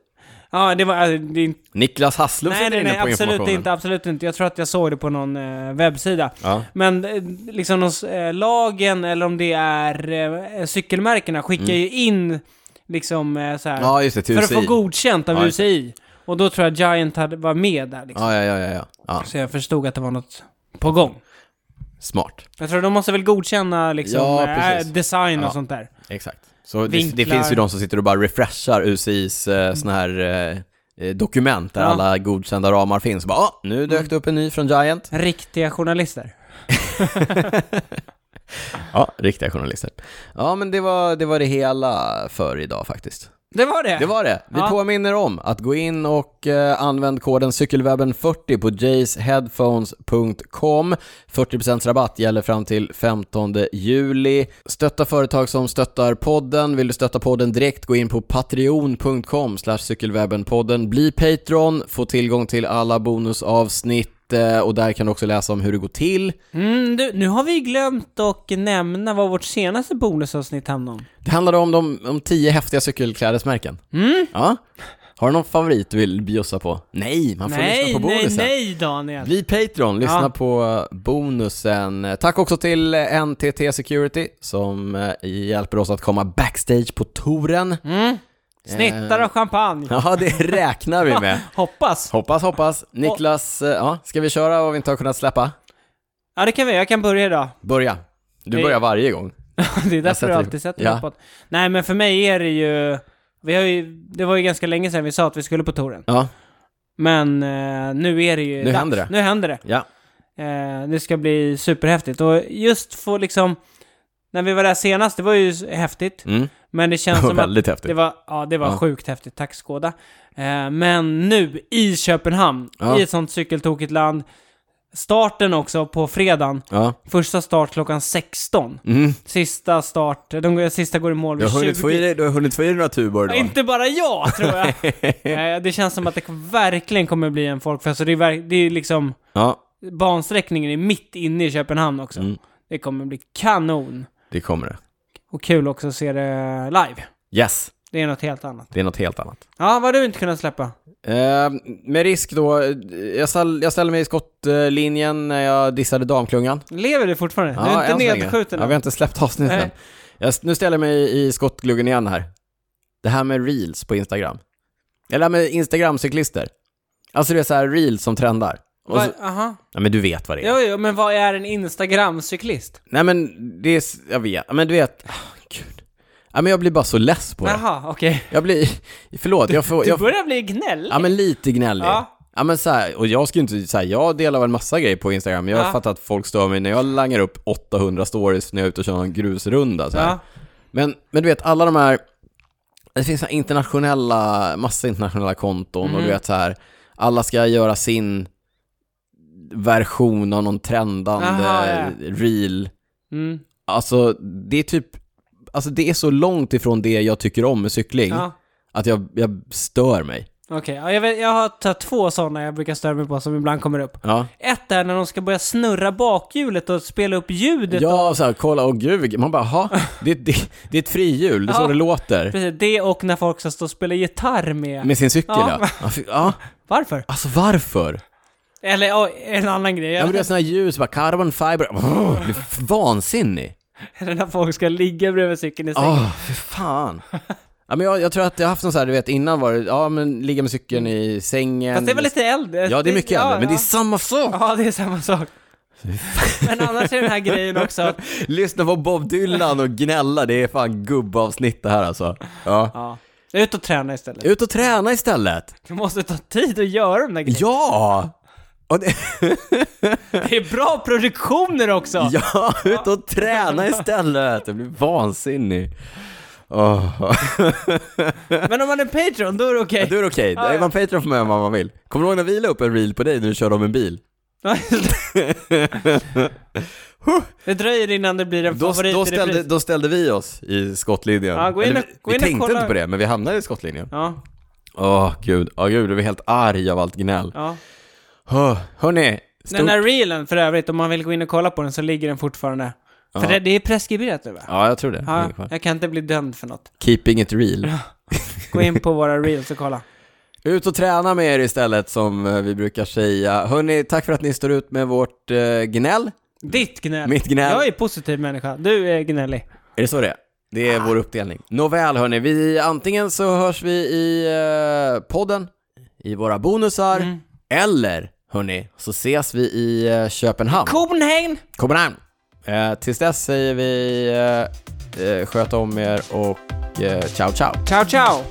B: Ja, det var... Alltså, det är inte,
A: Niklas Hasslum
B: nej,
A: sitter
B: nej,
A: inne
B: nej,
A: på
B: absolut
A: informationen.
B: inte, absolut inte. Jag tror att jag såg det på någon eh, webbsida.
A: Ja.
B: Men eh, liksom någons, eh, lagen, eller om det är eh, cykelmärkena, skickar ju in liksom eh, så här,
A: Mm. ja, just det, till
B: För att få
A: UCI.
B: godkänt av
A: Ja, just det.
B: UCI. Och då tror jag Giant hade, var med där liksom.
A: Ja, ja, ja, ja, ja. ja.
B: Så jag förstod att det var något på gång.
A: Smart.
B: Jag tror de måste väl godkänna liksom,
A: Ja,
B: eh,
A: precis.
B: design och
A: Ja.
B: sånt där.
A: Exakt. Så det, det
B: Vinklar.
A: finns ju de som sitter och bara refreshar UCIs eh, såna här eh, eh, dokument där
B: Ja. Mm.
A: alla godkända ramar finns. Och bara, ah, nu dök det upp en ny från Giant.
B: Riktiga journalister.
A: Ja, riktiga journalister. Ja, men det var det, var det hela för idag faktiskt.
B: Det var det!
A: Det var det. Vi
B: Ja.
A: påminner om att gå in och eh, använd koden cykelwebben40 på jaysheadphones.com. 40% rabatt gäller fram till 15 juli. Stötta företag som stöttar podden. Vill du stötta podden direkt, gå in på patreon.com slash cykelwebbenpodden. Bli Patreon, få tillgång till alla bonusavsnitt eh, och där kan du också läsa om hur det går till.
B: Mm, du, nu har vi glömt att nämna vad vårt senaste bonusavsnitt hamnade om.
A: Det handlade om de om tio häftiga cykelklädesmärken. Mm. Ja. Har du någon favorit du vill bjussa på? Nej, man får
B: nej,
A: lyssna på
B: nej,
A: bonusen.
B: nej Daniel!
A: Bli Patreon, lyssna
B: Ja.
A: på bonusen. Tack också till eh, NTT Security som eh, hjälper oss att komma backstage på touren.
B: Mm. Snittar och champagne.
A: Ja, det
B: *laughs*
A: räknar vi med.
B: Hoppas!
A: Hoppas, hoppas. Niklas, eh, ja, ska vi köra vad vi inte har kunnat släppa?
B: Ja, det kan vi. Jag kan börja idag. *laughs*
A: Börja. Du
B: Det-
A: börjar varje gång.
B: det är därför
A: sätter
B: du
A: det.
B: alltid sätter
A: Ja.
B: uppåt. Nej, men för mig är det ju... Vi har ju... Det var ju ganska länge sedan vi sa att vi skulle på touren.
A: Ja,
B: Men eh, nu är det ju...
A: Nu händer det.
B: Nu händer det.
A: ja.
B: Eh, det ska bli superhäftigt. Och just få liksom... När vi var där senast, det var ju s- häftigt.
A: Mm.
B: Men
A: *laughs*
B: det känns
A: Det var
B: som att...
A: väldigt häftigt.
B: Det var, ja, det var
A: Ja.
B: sjukt häftigt. Tack Skåda. Eh, men nu i Köpenhamn,
A: Ja.
B: i ett sånt cykeltokigt land. Starten också på fredagen.
A: Ja.
B: Första start klockan 16.
A: Mm.
B: Sista start, de går- sista går i mål
A: Du
B: vid
A: har hunnit få i
B: 20.
A: dig, du har hunnit få i dig några tubor
B: Ja,
A: då.
B: Inte bara jag, tror
A: *laughs*
B: jag. Eh, det känns som att det verkligen kommer bli en folkfest. Och det är, verk- det är liksom,
A: Ja,
B: bansträckningen är mitt inne i Köpenhamn också.
A: Mm.
B: Det kommer bli kanon.
A: det kommer det.
B: Och kul också att se det live.
A: Yes,
B: Det är något helt annat.
A: det är något helt annat.
B: Ja, vad har du inte kunnat släppa?
A: Eh, med risk då, eh, jag, ställ, jag ställde mig i skottlinjen när jag dissade damklungan.
B: Lever du fortfarande? du är
A: än
B: inte
A: så länge.
B: nedskjuten
A: Ja,
B: än.
A: vi har inte släppt avsnitten.
B: Nej.
A: Jag, nu ställer jag mig i skottgluggen igen här. Det här med reels på Instagram. Eller det här med Instagram-cyklister. Alltså det är så här reels som trendar. Och så,
B: Vad- Aha.
A: ja, men du vet vad det är.
B: Jo, jo, men vad är en Instagram-cyklist?
A: Nej men det är, s- jag vet, Ja, men du vet, ah, gud. Ja, men jag blir bara så less på det.
B: Jaha, okej.
A: Jag blir, förlåt, jag får,
B: Du
A: jag,
B: börjar bli gnällig.
A: ja men lite gnällig.
B: Ja.
A: Ja. men så här, och jag ska ju inte, så här, jag delar en massa grejer på Instagram, men jag
B: Ja.
A: har fattat att folk stör mig när jag langar upp 800 stories när jag är ute och kör en grusrunda så här.
B: Ja.
A: Men, men du vet, alla de här, det finns så här internationella, massa internationella konton
B: Mhm.
A: och du vet så här, alla ska göra sin version av någon trendande
B: Aha, ja.
A: reel.
B: Mm.
A: Alltså, det är typ, alltså det är så långt ifrån det jag tycker om med cykling,
B: ja.
A: att jag, jag stör mig.
B: Okej, ja, jag, vet- jag har tagit två sådana jag brukar störa mig på som ibland kommer upp.
A: Ja,
B: Ett är när de ska börja snurra bakhjulet och spela upp ljudet.
A: ja så här, kolla, åh gud, vilket- man bara, ha, det, det, det är ett frihjul, det är så
B: Ja.
A: det låter.
B: Precis, det och när folk ska stå och spela gitarr med.
A: Med sin cykel
B: Ja.
A: ja. Ja, fy- ja.
B: Varför?
A: Alltså varför?
B: Eller ja, en annan grej.
A: Ja men det är såna här ljus, bara carbon fiber, oh, det är f- vansinnig.
B: Eller när folk ska ligga bredvid cykeln i säng.
A: Åh, för fan. Ja, men jag, jag tror att jag har haft någon så här, du vet innan var det, ja men ligga med cykeln i sängen.
B: Fast det är väl lite äldre?
A: Ja det är mycket äldre, men det är samma sak.
B: Ja, det är
A: *laughs*
B: samma sak. Men annars är den här grejen också att...
A: Lyssna på Bob Dylan och gnälla, det är fan gubbavsnitt det här alltså. Ja.
B: Ja. Ut och träna istället.
A: Ut och träna istället.
B: Det måste ta tid att göra de där grejerna.
A: Ja! Och det,
B: Det är bra produktioner också!
A: ja, ut och träna istället. Jag blir vansinnig. Åh.
B: Men om man är Patreon, då är det okej.
A: Ja, då är det okej.
B: Ja, ja.
A: Är man Patreon får man göra vad man vill. Kommer du ihåg när vi la upp en reel på dig när du körde om en bil?
B: *laughs* det dröjer innan det blir en
A: Då,
B: favorit
A: då,
B: i repris.
A: ställde, då ställde vi oss i skottlinjen.
B: Ja, gå in
A: Eller
B: och-
A: vi
B: gå in
A: vi
B: och
A: tänkte
B: kolla.
A: inte på det, men vi hamnade i skottlinjen.
B: Ja,
A: Åh, gud. Åh, gud, jag blev helt arg av allt gnäll.
B: ja.
A: Oh, hörni, stort...
B: Den här reelen för övrigt, om man vill gå in och kolla på den så ligger den fortfarande. För det, det är preskriberat nu va?
A: Ja, jag tror det.
B: Ja,
A: Ungefär.
B: jag kan inte bli dömd för något.
A: Keeping it real.
B: Gå in på våra reels och kolla.
A: Ut och träna med er istället, som eh, vi brukar säga. Hörni, tack för att ni står ut med vårt eh, gnäll.
B: Ditt gnäll.
A: Mitt gnäll.
B: Jag är positiv människa. Du är gnällig.
A: Är det så det är? Det är vår uppdelning. Nåväl hörni, vi, antingen så hörs vi i eh, podden, i våra bonusar, eller hörni, så ses vi i eh, Köpenhamn.
B: Copenhagen!
A: Copenhamn! Eh, tills dess säger vi eh, eh, sköt om er och eh, ciao ciao.
B: Ciao ciao!